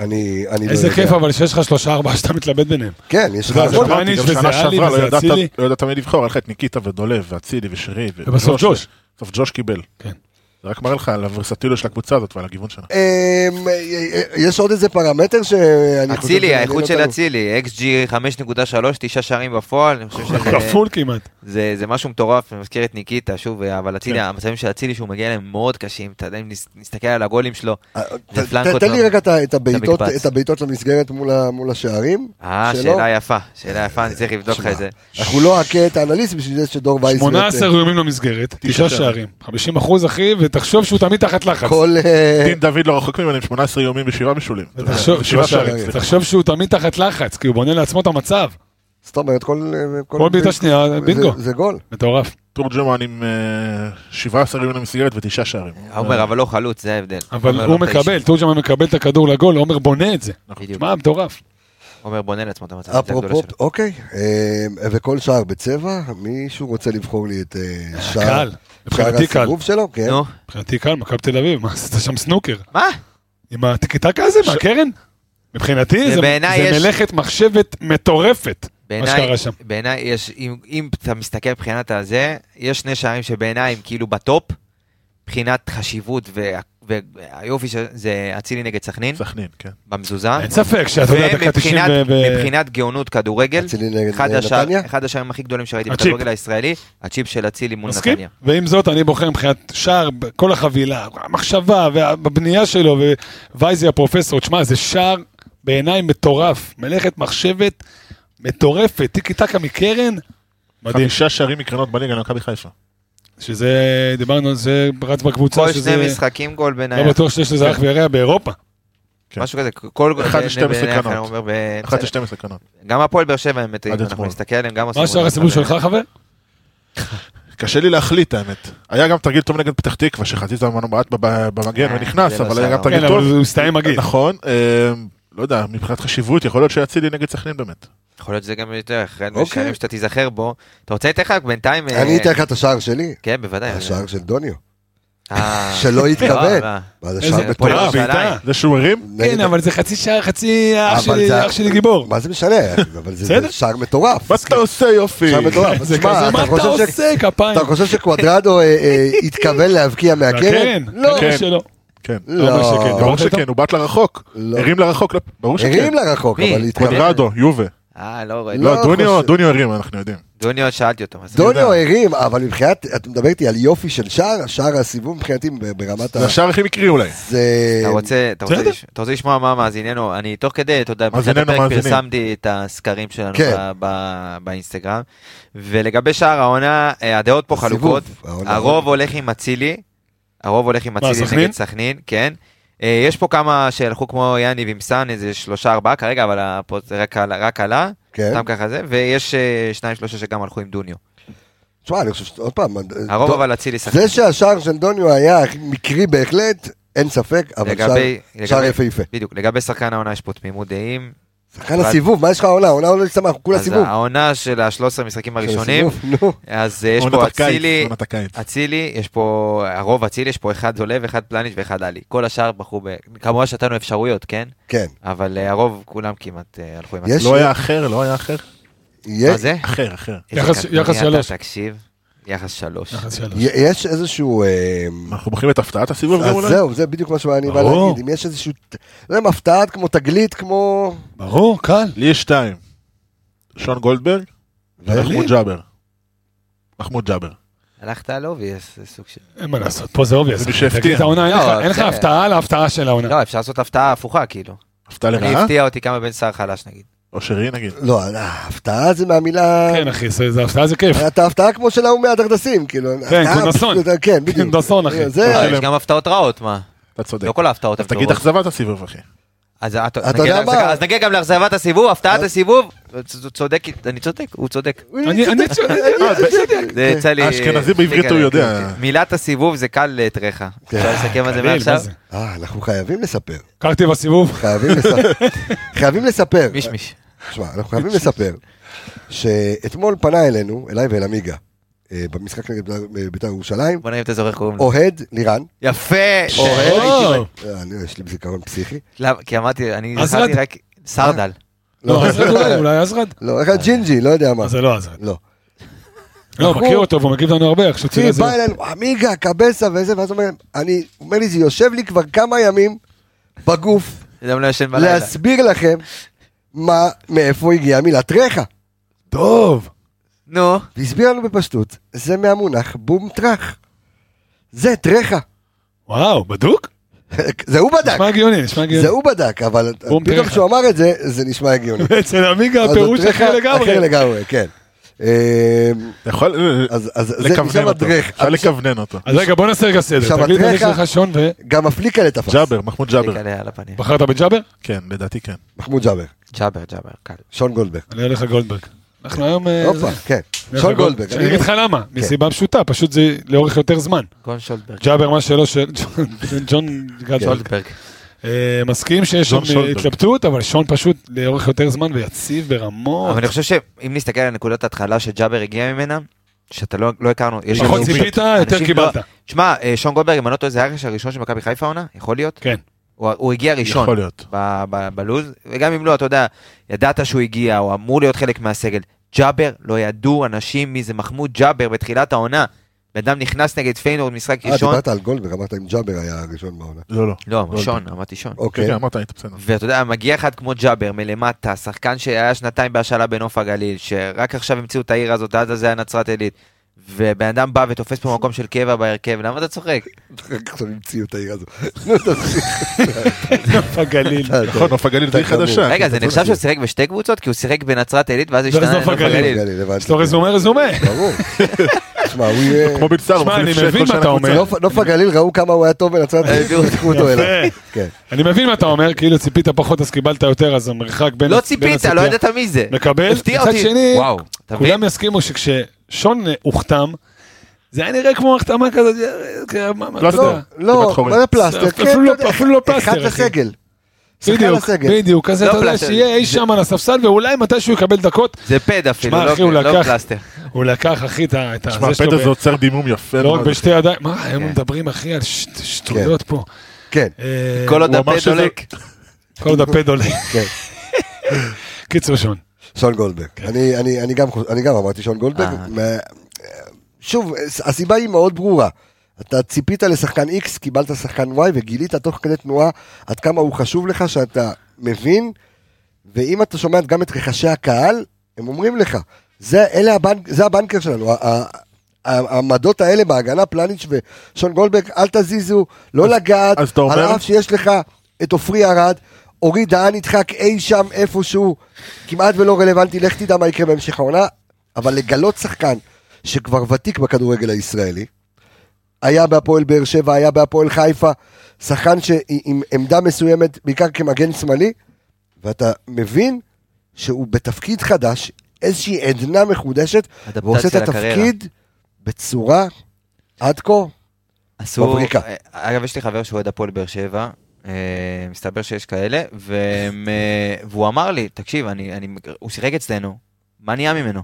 S1: אני, אני לא
S5: איזה
S1: יודע.
S5: כיף אבל שיש לך שלושה ארבעה שאתה מתלבט ביניהם.
S1: כן, יש
S5: (laughs)
S1: לך...
S5: אתה יודע, זה
S1: הכל.
S5: דבר-
S6: אמרתי,
S5: פלניץ'
S6: גם
S5: וזה
S6: שנה
S5: עלי
S6: שעברה
S5: וזה
S6: לא ידעת-
S5: אצילי.
S6: לא ידעת מי לבחור, היה לך את ניקיטה ודולב ואצילי ושירי. ו-
S5: ובסוף ג'וש.
S6: בסוף ג'וש קיבל.
S5: כן.
S6: זה רק מראה לך על הוורסטיליות של הקבוצה הזאת ועל הגיוון שלה.
S1: אמ, יש עוד איזה פרמטר שאני לא חושב...
S4: אצילי,
S1: שמעניין
S4: האיכות של
S1: אותנו?
S4: אצילי, XG 5.3, תשעה שערים בפועל, אני חושב שזה
S5: כפול כמעט.
S4: זה, זה משהו מטורף, אני מזכיר את ניקיטה, שוב, אבל אצילי,
S5: כן.
S4: המצבים של אצילי שהוא מגיע אליהם מאוד קשים, אתה יודע, אם נס- נסתכל על הגולים שלו,
S1: אה, ת-
S4: זה פלנקות
S1: ת- תן לי
S4: מאוד.
S1: רגע את ה- את הבעיטות-
S4: מקבץ.
S1: את הבעיטות למסגרת מול ה- מול השערים.
S4: אה,
S1: שלו.
S4: שאלה יפה, שאלה יפה, אני צריך לבדוק לך את זה.
S1: אנחנו לא נכה את האנליסט בשביל זה שדור וייס...
S5: 18 איומים למסגרת, תשעה
S6: שערים.
S5: שערים. 50 אחוז אחי, ותחשוב שהוא תמיד תחת לחץ.
S1: כל... אה,
S6: דין דוד לא רחוק ממנו עם 18 איומים ושבעה משולים. אתה יודע,
S5: ותחשוב-
S6: שבעה
S5: שבעה
S6: שערים,
S5: שערים.
S6: סליחה.
S5: תחשוב שהוא תמיד תחת לחץ, כי הוא בונה לעצמו את המצב.
S1: זאת אומרת, כל... אה,
S5: כל בעיטה שנייה,
S1: זה-
S5: בינגו.
S1: זה גול.
S5: מטורף.
S6: תורג'מן עם אה, 17 איומים למסגרת ותשעה שערים. אה,
S4: עומר, אבל לא חלוץ, זה ההבדל.
S5: אבל
S4: עומר
S5: הוא
S4: לא תשע.
S5: מקבל, תורג'מן מקבל את הכדור לגול, עומר בונה את זה.
S4: בדיוק.
S5: מה, מטורף.
S4: עומר בונה לעצמו את המצב. זה הגדולה
S1: אפרופו,
S4: שלו.
S1: אוקיי, אה, וכל שער בצבע, מישהו רוצה לבחור לי את אה, שער
S5: קל. מבחינתי
S1: שער
S5: קל.
S1: הסיבוב שלו? כן.
S4: נו,
S5: מבחינתי קל, מכבי תל אביב, מה עשית שם סנוקר?
S4: מה?
S5: עם הטיקטקה הזה, מהקרן? מבחינתי
S4: זה
S5: זה
S4: בעיניי
S5: זה
S4: יש-
S5: מלאכת מחשבת מטורפת, מה
S4: בעיניי, אה?
S5: שקרה שם.
S4: בעיניי יש, אם, אם אתה מסתכל מבחינת הזה, יש שני שערים שבעיניי הם כאילו בטופ, מבחינת חשיבות וה- והיופי של- זה אצילי נגד סכנין,
S6: סכנין, כן.
S4: במזוזה.
S5: אין ספק שאתה יודע, דקה 90
S4: ומבחינת
S5: ו... ו-
S4: מבחינת גאונות כדורגל,
S1: אצילי נגד
S4: אחד
S1: אה,
S4: השער-
S1: נתניה?
S4: אחד השערים הכי גדולים שראיתי
S5: הצ'יפ.
S4: בכדורגל הישראלי, הצ'יפ של אצילי מול
S5: מסכים?
S4: נתניה.
S5: ועם זאת אני בוחר מבחינת שער, ב- כל החבילה, המחשבה והבנייה שלו, ווייזי הפרופסור, תשמע, זה שער בעיניי מטורף, מלאכת מחשבת מטורפת, טיקי טקה מקרן, מדהים.
S6: חמישה שערים מקרנות בליגה למכבי חיפה.
S5: שזה, דיברנו על זה, רץ
S4: כל
S5: בקבוצה, שזה
S4: שני משחקים לא גול
S5: לא
S4: בעיניי,
S5: בטוח שיש לזה אח וירע באירופה.
S6: כן.
S4: משהו כזה, כל
S6: אחד לשתים עשרה
S4: בעיניי,
S6: קרנות.
S4: אני אומר, ב-
S6: אחת לשתים עשרה קרנות.
S4: גם הפועל באר שבע, האמת, אם
S6: עד
S4: אנחנו
S6: אתמול.
S4: נסתכל עליהם, גם
S5: מה שער הסיבוב שלך חבר?
S6: קשה לי להחליט האמת. היה גם תרגיל טוב נגד פתח תקווה שחזיזה ממנו בעט בב- במגן
S4: אה,
S6: ונכנס,
S4: זה לא
S6: אבל היה
S4: שער.
S6: גם
S5: כן,
S6: תרגיל
S5: אבל
S6: טוב.
S5: הוא הסתיים מגעיל.
S6: נכון, אה, לא יודע, מבחינת חשיבות יכול להיות שיצילי נגד סכנין באמת.
S4: יכול להיות שזה גם יותר, אחד
S1: אוקיי.
S4: מהשערים שאתה תיזכר בו. אתה רוצה לתת לך בינתיים? אה,
S1: אני אתן לך את השער שלי,
S4: כן, בוודאי.
S1: השער של דוניו.
S4: אה,
S1: שלא התכוון.
S4: לא, לא.
S1: מה זה
S5: איזה
S1: שער
S4: הפועל
S1: מטורף.
S5: מטורף, אה, בעיטה.
S4: ירושלים.
S6: זה שהוא הרים?
S1: נגד-
S5: כן, אבל זה חצי שעה, חצי אח
S1: אבל
S5: שלי,
S1: זה-
S5: אח שלי גיבור.
S1: מה זה משנה? אבל זה- זה
S5: בסדר.
S1: שער מטורף.
S6: מה אתה עושה יופי?
S1: שער
S5: (laughs)
S1: מטורף.
S5: זה
S1: תשמע,
S5: כזה,
S1: לא, אתה
S5: מה אתה
S1: חושב ש-
S5: עושה, כפיים?
S1: אתה חושב שקוודרדו אה, אה, התכוון להבקיע
S5: כן,
S1: מהקרן? לא.
S5: כנראה שלא.
S6: כן.
S5: לא אומר שכן,
S1: לא.
S5: דיברת
S6: ברור
S5: איתו?
S6: שכן, הוא בעט לרחוק.
S1: לא.
S6: הרים לרחוק, לא- ברור שכן.
S1: הרים לרחוק,
S4: מי?
S1: אבל התכוון.
S6: קוודרדו, יובה.
S4: אה, לא רואה.
S1: לא.
S6: לא, דוניו,
S1: חושב.
S6: דוניו הרים, אנחנו יודעים.
S4: דוני עוד שאלתי אותו. מה זה?
S1: דוניו הרים, אבל מבחינת, אתה מדבר איתי על יופי של שער, שער הסיבוב מבחינתי ב- ברמת ה...
S6: זה השער הכי מקרי אולי.
S1: זה...
S4: אתה רוצה, אתה רוצה
S5: בסדר.
S4: לש- אתה רוצה לשמוע מה מאזיננו, אני תוך כדי, אתה יודע, בתחילת
S6: מאזיננו,
S4: הפרק
S6: מאזינים.
S4: פרסמתי את הסקרים שלנו
S1: כן.
S4: ב- ב- באינסטגרם, ולגבי שאר העונה, אה, הדעות פה
S1: הסיבוב,
S4: חלוקות,
S1: העונה.
S4: הרוב הולך עם אצילי, הרוב הולך עם
S5: מה,
S4: אצילי
S5: סכנין?
S4: נגד סכנין, כן. אה, יש פה כמה שהלכו כמו יאני וימסן, איזה שלושה ארבעה כרגע, אבל הפוד- זה רק עלה- רק עלה,
S1: כן.
S4: סתם ככה זה, ויש אה, שניים שלושה שגם הלכו עם דוניו.
S1: תשמע, אני חושב ש... עוד פעם...
S4: הרוב
S1: דו-
S4: אבל אצילי סכנין.
S1: זה שהשער של דוניו היה הכי מקרי בהחלט, אין ספק, אבל שער-
S4: לגבי-
S1: שער
S4: לגבי-
S1: יפהפה.
S4: בדיוק, לגבי שחקן העונה יש פה תמימות דעים.
S1: שחקן הסיבוב, מה יש לך העונה? העונה עולה לצמח, כולה
S4: אז
S1: סיבוב.
S4: העונה של ה-13 המשחקים הראשונים,
S1: סיבוב, נו.
S4: אז אה, יש
S6: עונת
S4: פה
S6: הקיץ,
S4: אצילי,
S6: עונת הקיץ.
S4: אצילי, יש פה, הרוב אצילי, יש פה אחד עולה ואחד פלניץ' ואחד עלי. כל השאר בחרו ב... כמובן שנתנו אפשרויות, כן?
S1: כן.
S4: אבל אה, הרוב, כולם כמעט אה, הלכו עם
S1: יש-
S4: אצילי.
S6: לא היה אחר, לא היה אחר.
S4: מה
S1: יש-
S4: זה?
S6: אחר, אחר.
S4: איזה
S5: יחס-
S4: קטנוניה
S5: יחס
S4: אתה,
S5: שלוש.
S4: תקשיב, יחס שלוש.
S5: יחס אה, שלוש.
S1: יש איזשהו... אה,
S6: אנחנו בוחרים את הפתעת הסיבוב גם
S1: אז
S6: אולי?
S1: זהו, זה בדיוק מה שהיה אני בא
S5: ברור.
S1: להגיד. אם יש איזשהו... זה מפתעת כמו תגלית, כמו...
S5: ברור, קל.
S6: לי יש שתיים. שון גולדברג
S5: לי?
S6: ומחמוד ג'אבר. מחמוד ג'אבר.
S4: הלכת על אובייס, זה סוג של...
S5: אין מה לעשות, פה זה אובייס.
S6: זה מי שהפתיע.
S5: תגיד את העונה, אין לך-
S4: לא,
S5: אין לך
S4: זה-
S5: הפתעה על ההפתעה של העונה.
S1: אה,
S4: לא, אפשר לעשות הפתעה הפוכה, כאילו.
S6: הפתעה
S4: אני
S6: לרעה?
S4: הפתיע אותי כמה בן סער חלש, נגיד.
S6: או שרי נגיד.
S1: לא, הפתעה זה מהמילה...
S5: כן, אחי, זה זה הפתעה זה כיף.
S1: אתה הפתעה כמו של ההוא מהדרדסים, כאילו. הפתעה
S5: קונדסון.
S1: פשוט, כן, בדיוק.
S5: קונדסון, אחי.
S1: זה-
S4: לא,
S6: שלם.
S4: יש גם הפתעות רעות, מה?
S6: אתה צודק.
S4: לא כל ההפתעות
S6: אז
S4: הן
S6: תגיד
S4: טובות.
S6: אכזבת הסיבוב אחי.
S4: אז את-
S1: אתה
S4: נגיע
S1: יודע
S4: להפסקה-
S1: מה?
S4: אז נגיע גם לאכזבת הסיבוב, הפתעת
S1: אז-
S4: הסיבוב. צ- צודק, אני צודק, הוא צודק.
S5: אני- אה, אני
S4: זה
S1: כן.
S4: יצא לי... אוקיי,
S6: אשכנזי בעברית הוא יודע.
S4: מילת הסיבוב זה קל לטרחה.
S1: כן.
S4: אפשר לסכם על זה
S5: קליל,
S4: מעכשיו?
S5: מה זה?
S1: אה, אנחנו חייבים לספר.
S5: קרתי בסיבוב.
S1: חייבים
S5: (laughs)
S1: לספר. חייבים לספר.
S4: מישמיש.
S1: תשמע, אנחנו חייבים לספר שאתמול פנה אלינו, אליי ואל עמיגה, אה, במשחק נגד בית"ר- בית"ר ירושלים,
S4: בוא נראה אם אתה זוכר איך קוראים לו.
S1: אוהד לירן,
S4: יפה! אוקיי.
S1: אוהד.
S5: או,
S1: אה, אני- יש לי זיכרון פסיכי,
S4: למה? כי אמרתי, אני
S5: אז
S4: זכרתי
S5: רד.
S4: רק... סרדל.
S1: אה,
S5: לא, עזרד אולי, אולי עזרד.
S1: לא, איך הג'ינג'י, לא יודע מה.
S5: אז זה לא עזרד.
S1: לא.
S5: לא,
S1: בחור-
S5: מכיר אותו, והוא מגיב לנו הרבה, עכשיו
S1: אחי,
S5: תראה זה.
S1: בא אלינו, עמיגה, קבסה וזה, ואז הוא אומר, אני, הוא אומר לי, זה יושב לי כבר כמה ימים בגוף,
S4: אדם לא ישן בלילה.
S1: להסביר לכם מה, מאיפה הגיעה מילת רחה.
S5: טוב.
S4: נו.
S1: והסביר לנו בפשטות, זה מהמונח בום טראח. זה טרחה. (laughs)
S5: וואו, בדוק?
S1: זה הוא בדק.
S5: נשמע הגיוני, נשמע הגיוני.
S1: זה הוא בדק, אבל
S5: בום
S1: פתאום
S5: טרחה.
S1: כשהוא אמר את זה, זה נשמע הגיוני.
S5: (laughs) אצל עמיגה
S1: אז זה
S5: הפירוש
S1: טרחה
S5: אחר לגמרי.
S1: אחר לגמרי, כן. אמ,
S6: אתה יכול
S1: אז אז זה
S6: לכוונן
S1: משם
S6: אותו.
S1: הדרך.
S6: אפשר לכוונן אותו.
S5: אז רגע, בוא נעשה רגע
S1: עכשיו,
S5: סדר. תגיד את
S1: אדריכה-
S5: הליך שלך שון
S1: גם הפליקה לתפס.
S6: ג'אבר, מחמוד ג'אבר.
S5: כן.
S4: תקלה על הפנים.
S5: ובחרת בג'אבר?
S6: כן, לדעתי כן.
S1: מחמוד ג'אבר,
S4: ג'אבר, ג'אבר, קל.
S1: שון גולדברג.
S5: אני הולך לגולדברג. אנחנו היום... אה, זה.
S1: הופה, כן. שון
S5: אני הולך לגולד-
S1: גולדברג. כן.
S5: אני אגיד לך למה, מסיבה פשוטה, פשוט זה לאורך יותר זמן.
S4: גון שולדברג.
S5: ג'אבר מה שלא של ג'ון- (laughs) ג'ון גלדברג.
S4: שולדברג.
S1: כן.
S5: אה, מסכים שיש שם אה,
S6: ג'ון שולדברג.
S5: התלבטות, אבל שון פשוט לאורך יותר זמן ויציב ברמות.
S4: אבל אני חושב שאם נסתכל על נקודת ההתחלה שג'אבר הגיע ממנה, שאתה לא לא הכרנו. יש
S5: פחות
S4: אנשים-
S5: ציפית,
S4: אנשים
S5: יותר
S4: לא-
S5: קיבלת.
S4: שמע, אה, שון גולדברג, אם אני לא טועה, זה הרכש הראשון של מכבי חיפה העונה? יכול להיות?
S5: כן.
S4: הוא הוא הגיע ראשון
S6: יכול להיות.
S4: ב- ב- בלוז, וגם אם לא, אתה יודע, ידעת שהוא הגיע, הוא אמור להיות חלק מהסגל. ג'אבר, לא ידעו אנשים מי זה מחמוד ג'אבר בתחילת העונה. בן אדם נכנס נגד פיינורד משחק
S1: אה,
S4: ראשון.
S1: דיברת על גולדברג, אמרת אם ג'אבר היה הראשון בעונה.
S6: לא, לא.
S4: לא, ראשון, אמרתי שון.
S6: כן,
S1: אוקיי.
S6: כן, אמרת, היית בסדר.
S4: ואתה יודע, מגיע אחד כמו ג'אבר מלמטה, שחקן שהיה שנתיים בהשאלה בנוף הגליל, שרק עכשיו המציאו את העיר הזאת, עד אז זה היה נצרת עילית. ובן אדם בא ותופס פה מקום של קבע בהרכב, למה אתה צוחק?
S6: כן.
S1: רק (laughs) עכשיו המציאו את העיר הזו. (laughs) נו, תמשיך.
S5: נוף הגליל.
S1: כן,
S6: נכון, נוף הגליל זה עיר
S1: חמור.
S6: חדשה.
S4: רגע, זה
S1: אה, כן, אתה
S4: נחשב
S1: צודק.
S4: שהוא שיחק בשתי קבוצות? כי הוא שיחק בנצרת עילית ואז
S5: ואז
S4: השתנה
S5: נוף
S4: לנוף
S5: הגליל.
S4: הגליל.
S1: גליל, הבנתי. כן.
S5: יש לו רזומה רזומה.
S1: ברור. תשמע, הוא יהיה...
S6: כמו בלצר, הוא
S5: שמע,
S6: מחליף
S5: אני
S6: שכל
S5: מבין מה
S6: שנה
S5: אתה
S6: קבוצה.
S5: אומר.
S1: נוף- נוף הגליל ראו כמה הוא היה טוב בנצרת,
S4: הביאו-
S1: לקחו אותו
S5: יפה.
S1: אליו. כן.
S5: אני מבין מה אתה אומר, כאילו ציפית פחות אז קיבלת יותר, אז המרחק בין...
S4: לא
S5: בין
S4: ציפית,
S5: הציפייה-
S4: לא ידעת מי זה.
S5: מקבל.
S4: הפתיע
S5: מצד
S4: אותי.
S5: שני,
S4: וואו, אתה מבין?
S5: כולם יסכימו שכששון אה, הוכתם, זה היה נראה כמו החתמה כזאת, אה, כ- מה- מה-
S6: לא,
S5: אתה
S1: לא,
S5: יודע.
S1: לא,
S6: כמעט חורג.
S1: מה זה פלסטר?
S5: זה
S1: כן,
S5: אפילו לא-
S1: אתה יודע,
S5: אפילו לא פלסטר,
S1: אחד
S5: אחי.
S1: לסגל. שחקן
S5: בדיוק,
S1: לסגל.
S5: בדיוק, כזה
S4: לא
S5: אתה יודע
S4: פלסטר.
S5: שיהיה אי שם על הספסל ואולי מתישהו יקבל דקות.
S4: זה פד אפילו,
S5: שמע, אחי, הוא
S4: לא לא
S5: לקח-
S4: פלסטר.
S5: הוא לקח אחי את ה... את ה-
S6: שמע,
S5: זה שלו
S6: פטר
S5: ב-
S6: זה עוצר דימום יפה.
S5: לא רק
S6: מאוד.
S5: בשתי ידיים, מה, היום
S4: כן.
S5: מדברים אחי על ש- שטויות פה.
S1: כן,
S5: אה,
S4: כל עוד
S6: הוא אמר
S4: הפד
S6: שזה-
S4: דולק.
S5: כל עוד הפד עולה. (laughs)
S1: כן.
S5: קיצור שון.
S1: שון גולדברג. אני- אני- אני גם חוש- אני גם אמרתי שון גולדברג.
S4: אה.
S1: מה- שוב, הסיבה היא מאוד ברורה. אתה ציפית לשחקן X, קיבלת שחקן Y וגילית תוך כדי תנועה עד כמה הוא חשוב לך שאתה מבין, ואם אתה שומע גם את רחשי הקהל, הם אומרים לך, זה, אלה הבנק, זה הבנקר שלנו, ה- ה- ה- העמדות האלה בהגנה, פלניץ' ושון גולדברג, אל תזיזו, לא לגעת,
S6: אז אתה
S1: על
S6: אומר-
S1: אף שיש לך את עופרי ארד, אורי דהן נדחק אי שם איפשהו, כמעט ולא רלוונטי, לך תדע מה יקרה בהמשך העונה, אבל לגלות שחקן שכבר ותיק בכדורגל הישראלי, היה בהפועל באר שבע, היה בהפועל חיפה, שחקן ש- עם עמדה מסוימת, בעיקר כמגן שמאלי, ואתה מבין שהוא בתפקיד חדש, איזושהי עדנה מחודשת, ועושה את
S4: אדפטציה לקריירה.
S1: התפקיד בצורה עד כה
S4: עשו...
S1: מבריקה.
S4: אה, אגב, יש לי חבר שהוא אוהד הפועל באר שבע, אה, מסתבר שיש כאלה, והם, אה, והוא אמר לי, תקשיב, אני, אני, הוא שיחק אצלנו, מה נהיה ממנו?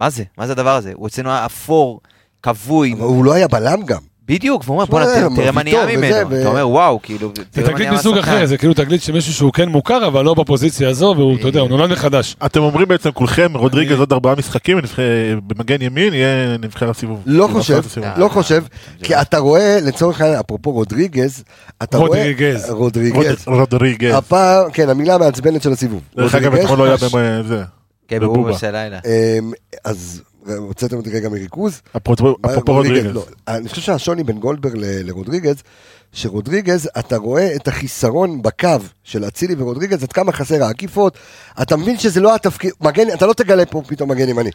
S4: מה זה? מה זה הדבר הזה? הוא אצלנו היה אפור, כבוי,
S1: אבל הוא לא היה בלם גם.
S4: בדיוק, והוא אומר,
S1: שמע,
S4: בוא'נה, תראה- תראה מה
S1: ויטור
S4: נהיה
S1: וזה,
S4: ממנו.
S1: ו-
S4: אתה אומר, וואו, כאילו,
S5: זה
S4: תראה מה
S5: תגלית
S4: נהיה
S5: מסוג
S4: מהשחקן."
S5: אחר, זה כאילו תגלית של מישהו שהוא כן מוכר, אבל לא בפוזיציה הזו, והוא, אתה
S4: כן.
S5: יודע, הוא נולד מחדש.
S6: אתם אומרים בעצם כולכם, רודריגז עוד ארבעה משחקים, נבחר- במגן ימין יהיה נבחר הסיבוב.
S1: לא
S6: נבחרת
S1: חושב,
S6: הסיבוב.
S1: לא חושב,
S4: אה,
S1: כי אתה רואה, לצורך העניין, אפרופו רודריגז, אתה רואה...
S5: רודריגז.
S1: רודריגז.
S6: רוד- רודריגז.
S1: הפעם, כן, המילה המעצבנת של הסיבוב.
S6: דרך אגב,
S1: רודריגז.
S6: אתמול לא היה
S5: ממש.
S6: במה- זה.
S4: כן,
S6: בבובה.
S4: בבובה של הלילה.
S1: אמ, אז הוצאתם אותי רגע מריכוז.
S6: אפרופו אפרופו רודריגז.
S1: לא. אני חושב שהשוני בין גולדברג ל- לרודריגז, שרודריגז, אתה רואה את החיסרון בקו של אצילי ורודריגז, עד כמה חסר העקיפות, אתה מבין שזה לא התפקיד, מגן, אתה לא תגלה פה פתאום מגן ימני.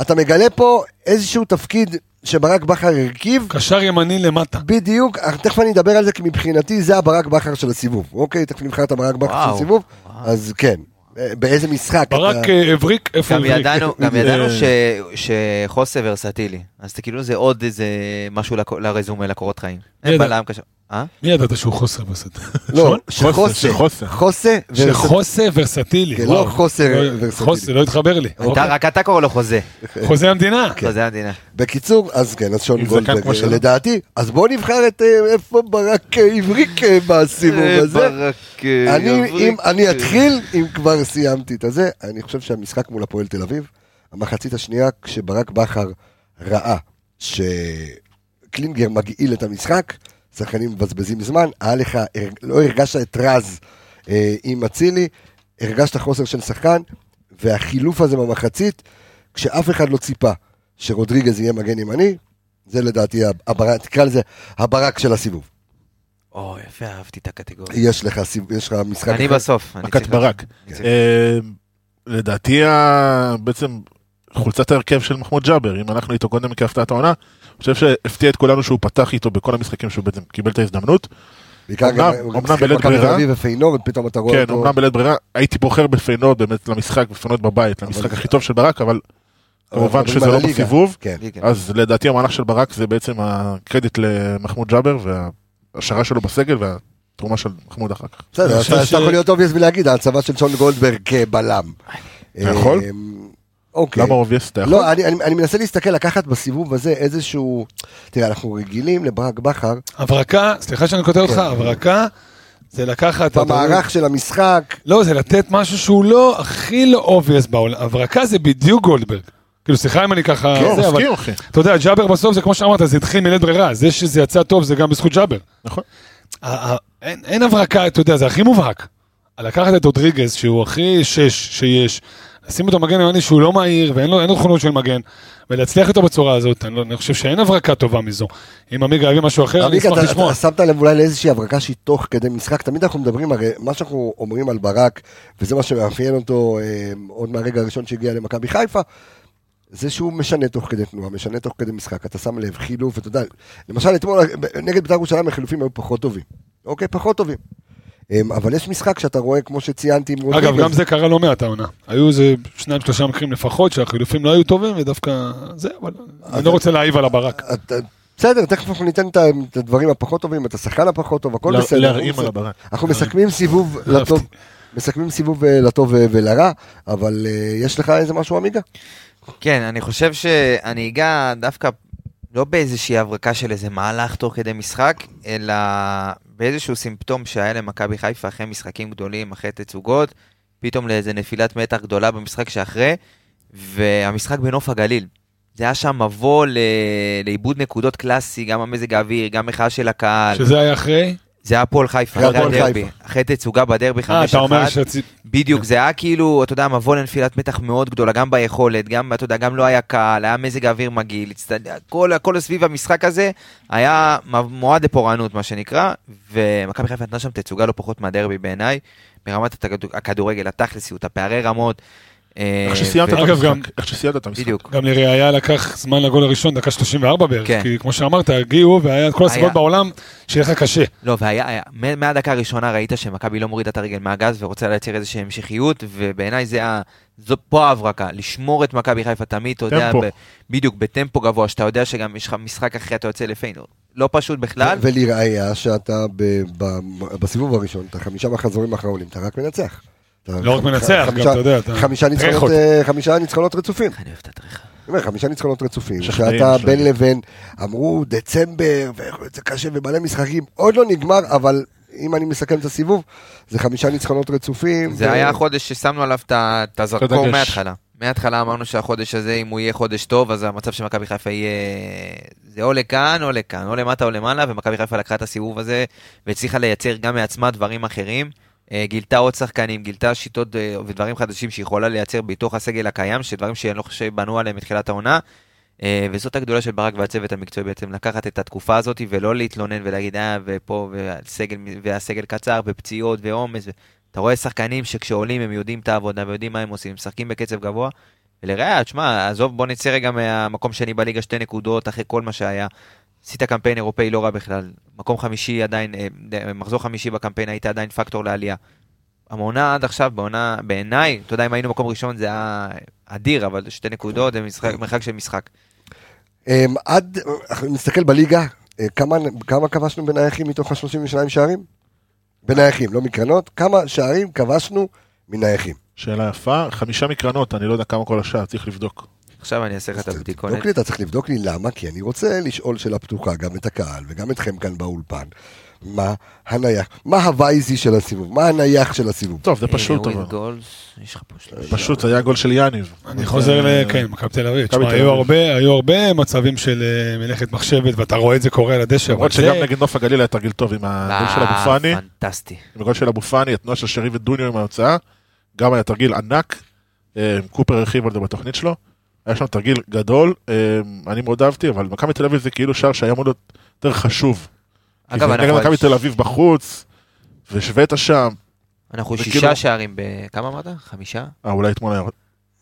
S1: אתה מגלה פה איזשהו תפקיד שברק בכר הרכיב,
S5: קשר ימני למטה.
S1: בדיוק, אך תכף אני אדבר על זה, כי מבחינתי זה הברק בכר של הסיבוב, אוקיי? תכף נבחר את הברק בכר של
S4: וואו.
S1: הסיבוב,
S4: וואו.
S1: אז כן, אה, באיזה משחק
S5: ברק
S1: אתה...
S5: אה, הבריק, איפה
S4: גם
S5: הוא
S1: (laughs)
S5: הבריק?
S4: ידענו, גם
S5: אה,
S4: ידענו ש- שחוסה ורסטילי, אז זה כאילו זה עוד איזה משהו לכ- לרזומה, לקורות חיים. אין
S5: ידע.
S4: בלם קשר. אה?
S5: מי ידעת שהוא חוסר וסטילי?
S1: לא,
S6: שחוסה,
S1: שחוסה,
S6: שחוסה.
S1: חוסה, ורסטילי.
S5: שחוסר ורסטילי.
S1: כן,
S5: וואו.
S1: לא חוסר
S5: לא-
S1: ורסטילי.
S5: חוסר, לא התחבר לי.
S1: אוקיי.
S4: אתה- רק אתה קורא לו חוזה.
S5: חוזה המדינה.
S1: כן.
S4: חוזה המדינה.
S1: בקיצור, אז כן, אז שון
S6: עם זקן
S1: גולדברג,
S6: כמו
S1: אה,
S6: שלו.
S1: לדעתי, אז בואו נבחר את אה, איפה ברק אה, הבריק אה, בסיבוב הזה. אני, אם, אני אתחיל, אם כבר סיימתי את הזה, אני חושב שהמשחק מול הפועל תל אביב, המחצית השנייה, כשברק בכר ראה שקלינגר מגעיל את המשחק, שחקנים מבזבזים זמן, היה לך, הר- לא הרגשת את רז אה, עם אצילי, הרגשת חוסר של שחקן, והחילוף הזה במחצית, כשאף אחד לא ציפה שרודריגז יהיה מגן ימני, זה לדעתי, הברק, תקרא לזה, הברק של הסיבוב.
S4: או, יפה, אהבתי את הקטגוריה.
S1: יש לך, סיב- יש לך משחק...
S4: אני
S1: אחר.
S4: בסוף. אני
S6: מכת
S4: צריך-
S6: ברק.
S4: אני צריך-
S6: אה, לדעתי ה- בעצם חולצת ההרכב של מחמוד ג'אבר, אם הלכנו איתו קודם כהפתעת העונה, אני חושב שהפתיע את כולנו שהוא פתח איתו בכל המשחקים שהוא בעצם קיבל את ההזדמנות.
S1: בעיקר גם,
S6: אמנם-
S1: הוא גם
S6: אמנם
S1: שיחק
S6: בלית
S1: מכבי תל
S6: ברירה.
S1: אביב ופיינורד, פתאום אתה רואה
S6: כן,
S1: אותו.
S6: אמנם בלית ברירה, הייתי בוחר בפיינורד באמת למשחק, בפיינורד בבית, למשחק
S1: זה-
S6: הכי טוב של ברק, אבל
S1: אבל
S6: כמובן
S1: מדברים
S6: שזה
S1: על
S6: לא
S1: הליגה.
S6: בסיבוב.
S1: כן.
S4: ליגה.
S6: אז לדעתי המהלך של ברק זה בעצם הקרדיט למחמוד ג'אבר וההשערה שלו בסגל והתרומה של מחמוד אחר כך.
S1: בסדר,
S5: אני
S1: אז
S5: חושב
S1: אתה
S5: ש-
S1: אתה יכול להיות אובייס ולהגיד, ההצבה של שון גולדברג כבלם.
S6: אתה יכול?
S1: אמ, אוקיי.
S6: למה אובייס אתה יכול?
S1: לא, אני, אני, אני מנסה להסתכל, לקחת בסיבוב הזה איזשהו... תראה, אנחנו רגילים לברק בכר,
S5: הברקה, סליחה שאני כותב אותך,
S1: כן.
S5: הברקה זה לקחת...
S1: במערך של המשחק,
S5: לא, זה לתת משהו שהוא לא הכי לא אובייס בעולם. הברקה זה בדיוק גולדברג. כאילו, סליחה אם אני ככה...
S1: כן,
S6: לא,
S5: זה, אבל-
S6: מסכים אחי.
S4: אה,
S5: אתה יודע, ג'אבר בסוף זה כמו שאמרת, זה התחיל מלית ברירה. זה שזה יצא טוב זה גם בזכות ג'אבר.
S6: נכון.
S5: ה- ה- אין אין הברקה, אתה יודע, זה הכי מובהק. לקחת את רודריגז, שהוא הכי שש שיש, לשים אותו מגן ימני שהוא לא מהיר ואין לו אין לו תכונות של מגן, ולהצליח איתו בצורה הזאת, אני, לא, אני חושב שאין הברקה טובה מזו. אם עמיגה יביא משהו אחר, אני
S1: עמיגה,
S5: אשמח
S1: אתה-
S5: לשמוע.
S1: אתה שמת לב אולי לאיזושהי הברקה שהיא תוך כדי משחק, תמיד אנחנו מדברים, הרי מה שאנחנו אומרים על ברק, וזה מה שמאפיין אותו אה, עוד מהרגע הראשון שהגיע למכבי חיפה, זה שהוא משנה תוך כדי תנועה, משנה תוך כדי משחק, אתה שם לב, חילוף, אתה יודע, למשל אתמול נגד בית"ר ירושלים החילופים היו פחות טובים, אוקיי, פחות טובים. אה, אבל יש משחק שאתה רואה, כמו שציינתי, עם
S5: אגב,
S1: רודריגז.
S5: גם זה קרה לא מעט העונה. היו איזה שניים שלושה מקרים לפחות שהחילופים לא היו טובים ודווקא זה, אבל אני
S1: אוקיי.
S5: לא רוצה להעיב על הברק.
S1: אתה- בסדר, תכף אנחנו ניתן את ה- את הדברים הפחות טובים, את השחקן הפחות טוב, הכל
S6: לה-
S1: בסדר.
S6: להרעים
S1: הוא-
S6: על הברק.
S1: אנחנו מסכמים סיבוב לטוב, מסכמים סיבוב אה, לטוב אה, ולרע, אבל אה, יש לך איזה משהו עמיגה?
S4: כן, אני חושב שאני אגע דווקא לא באיזושהי הברקה של איזה מהלך תוך כדי משחק, אלא באיזשהו סימפטום שהיה למכבי חיפה אחרי משחקים גדולים, אחרי תצוגות, פתאום לאיזה נפילת מתח גדולה במשחק שאחרי, והמשחק בנוף הגליל. זה היה שם מבוא ל- לאיבוד נקודות קלאסי, גם המזג האוויר, גם מחאה של הקהל.
S5: שזה היה אחרי?
S4: זה היה הפועל חיפה,
S1: זה
S4: אחרי
S1: הפועל
S4: הדרבי.
S1: חיפה.
S4: אחרי תצוגה בדרבי 5-1.
S5: אה, אתה אומר שצי...
S4: בדיוק, זה היה כאילו, אתה יודע, מבוא לנפילת מתח מאוד גדולה, גם ביכולת, גם, אתה יודע, גם לא היה קהל, היה מזג האוויר מגעיל, הצטד- הכל, הכל סביב המשחק הזה היה מ- מועד לפורענות, מה שנקרא, ומכבי חיפה נתנה שם תצוגה לא פחות מהדרבי בעיניי, ברמת הכדור- הכדורגל, התכלסיות, הפערי רמות. אה,
S6: איך שסיימת את
S5: אגב, גם-
S6: המשחק. איך שסיימת את המשחק.
S4: בדיוק.
S5: גם לראיה לקח זמן לגול הראשון, דקה 34 בערך,
S4: כן.
S5: כי כמו שאמרת, הגיעו והיה את כל הסיבות
S4: היה.
S5: בעולם שיהיה לך קשה.
S4: לא, והיה, היה, מה- מהדקה הראשונה ראית שמכבי לא מורידה את הרגל מהגז ורוצה לייצר איזושהי המשכיות, ובעיניי זה, ה- זו פה ההברקה, לשמור את מכבי חיפה תמיד, אתה יודע,
S6: טמפו.
S4: ב- בדיוק, בטמפו גבוה, שאתה יודע שגם יש לך משחק אחרי אתה יוצא לפיינור. לא פשוט בכלל.
S1: ולראיה שאתה ב- ב- בסיבוב הראשון, את החמישה מחזורים האחרונים, אתה רק מנצח. אתה-
S5: לא רק מנצח, גם,
S1: חמישה-
S5: אתה יודע, אתה-
S1: חמישה ניצחונות,
S5: טרחות.
S1: אה, חמישה ניצחונות רצופים.
S4: אני אוהב את הטריחה.
S1: אני אומר, חמישה ניצחונות רצופים,
S6: משכנעים,
S1: שאתה
S6: משכנעים.
S1: בין לבין, אמרו דצמבר, ויכול להיות זה קשה ומלא משחקים, עוד לא נגמר, אבל אם אני מסכם את הסיבוב, זה חמישה ניצחונות רצופים.
S4: זה
S1: ו-
S4: היה החודש ששמנו עליו את ה- את הזרקור
S6: הדגש.
S4: מההתחלה. מההתחלה אמרנו שהחודש הזה, אם הוא יהיה חודש טוב, אז המצב של מכבי חיפה יהיה... זה או לכאן או לכאן, או למטה או למעלה, ומכבי חיפה לקחה את הסיבוב הזה, והצליחה לייצר גם מעצמה דברים אחרים. אה, גילתה עוד שחקנים, גילתה שיטות אה, ודברים חדשים שהיא יכולה לייצר בתוך הסגל הקיים, שדברים שאני לא חושב שבנו עליהם מתחילת העונה. אה, וזאת הגדולה של ברק והצוות המקצועי בעצם, לקחת את התקופה הזאת ולא להתלונן ולהגיד, אה, ופה, והסגל, והסגל קצר, ופציעות, ועומס. ו... אתה רואה שחקנים שכשעולים הם יודעים את העבודה ויודעים מה הם עושים, משחקים בקצב גבוה. ולראיה, תשמע, עזוב, בוא נצא רגע מהמקום שני בליגה, שתי נקודות אחרי כל מה שהיה. עשית קמפיין אירופאי לא רע בכלל. מקום חמישי עדיין, אה, אה, מחזור חמישי בקמפיין היית עדיין פקטור לעלייה. המעונה עד עכשיו, בעונה, בעיניי, אתה יודע, אם היינו מקום ראשון זה היה אדיר, אבל שתי נקודות זה משחק, מרחק של משחק.
S1: אמ, עד, אנחנו נסתכל בליגה, אה, כמה- כמה כבשנו בנייחים מתוך ה-32 שערים? בנייחים, לא מקרנות, כמה שערים כבשנו מנייחים?
S6: שאלה יפה, חמישה מקרנות, אני לא יודע כמה כל השעה, צריך לבדוק.
S4: עכשיו אני אעשה לך את
S1: אז
S4: הבדיקונת.
S6: לא
S1: תבדוק לי, אתה צריך לבדוק לי למה, כי אני רוצה לשאול שאלה פתוחה גם את הקהל וגם אתכם כאן באולפן. מה הנייח, מה הווייזי של הסיבוב, מה הנייח של הסיבוב?
S6: טוב, זה פשוט
S4: אה, with
S6: אבל.
S4: goals, יש לך פה שלושה.
S6: פשוט, זה היה גול של אה, יאניב.
S5: אני חוזר ל... כן, מכבי תל אביב.
S6: מכבי
S5: תשמע,
S6: תל
S5: היו
S6: אביב.
S5: הרבה- היו הרבה מצבים של אה, מלאכת מחשבת, ואתה רואה את זה קורה על הדשא. אבל
S6: למרות
S5: זה-
S6: שגם נגד נוף הגליל היה תרגיל טוב עם הגול של
S4: אה,
S6: אבו פאני,
S4: פנטסטי.
S6: עם הגול של אבו פאני, התנועה של שרי ודוניו עם ההוצאה, גם היה תרגיל ענק, אה, קופר הרחיב על זה בתוכנית שלו, היה שם תרגיל גדול, אה, אני מאוד אהבתי, אבל מכבי תל אביב זה כאילו שער שהיה אמור להיות יותר חשוב. כי
S4: אגב,
S6: זה נגד
S4: אנחנו על
S6: מכבי תל אביב בחוץ, והשווית שם,
S4: אנחנו
S6: וכאילו-
S1: כאילו-
S4: שישה שערים ב... כמה אמרת? חמישה?
S6: אה, אולי אתמול היה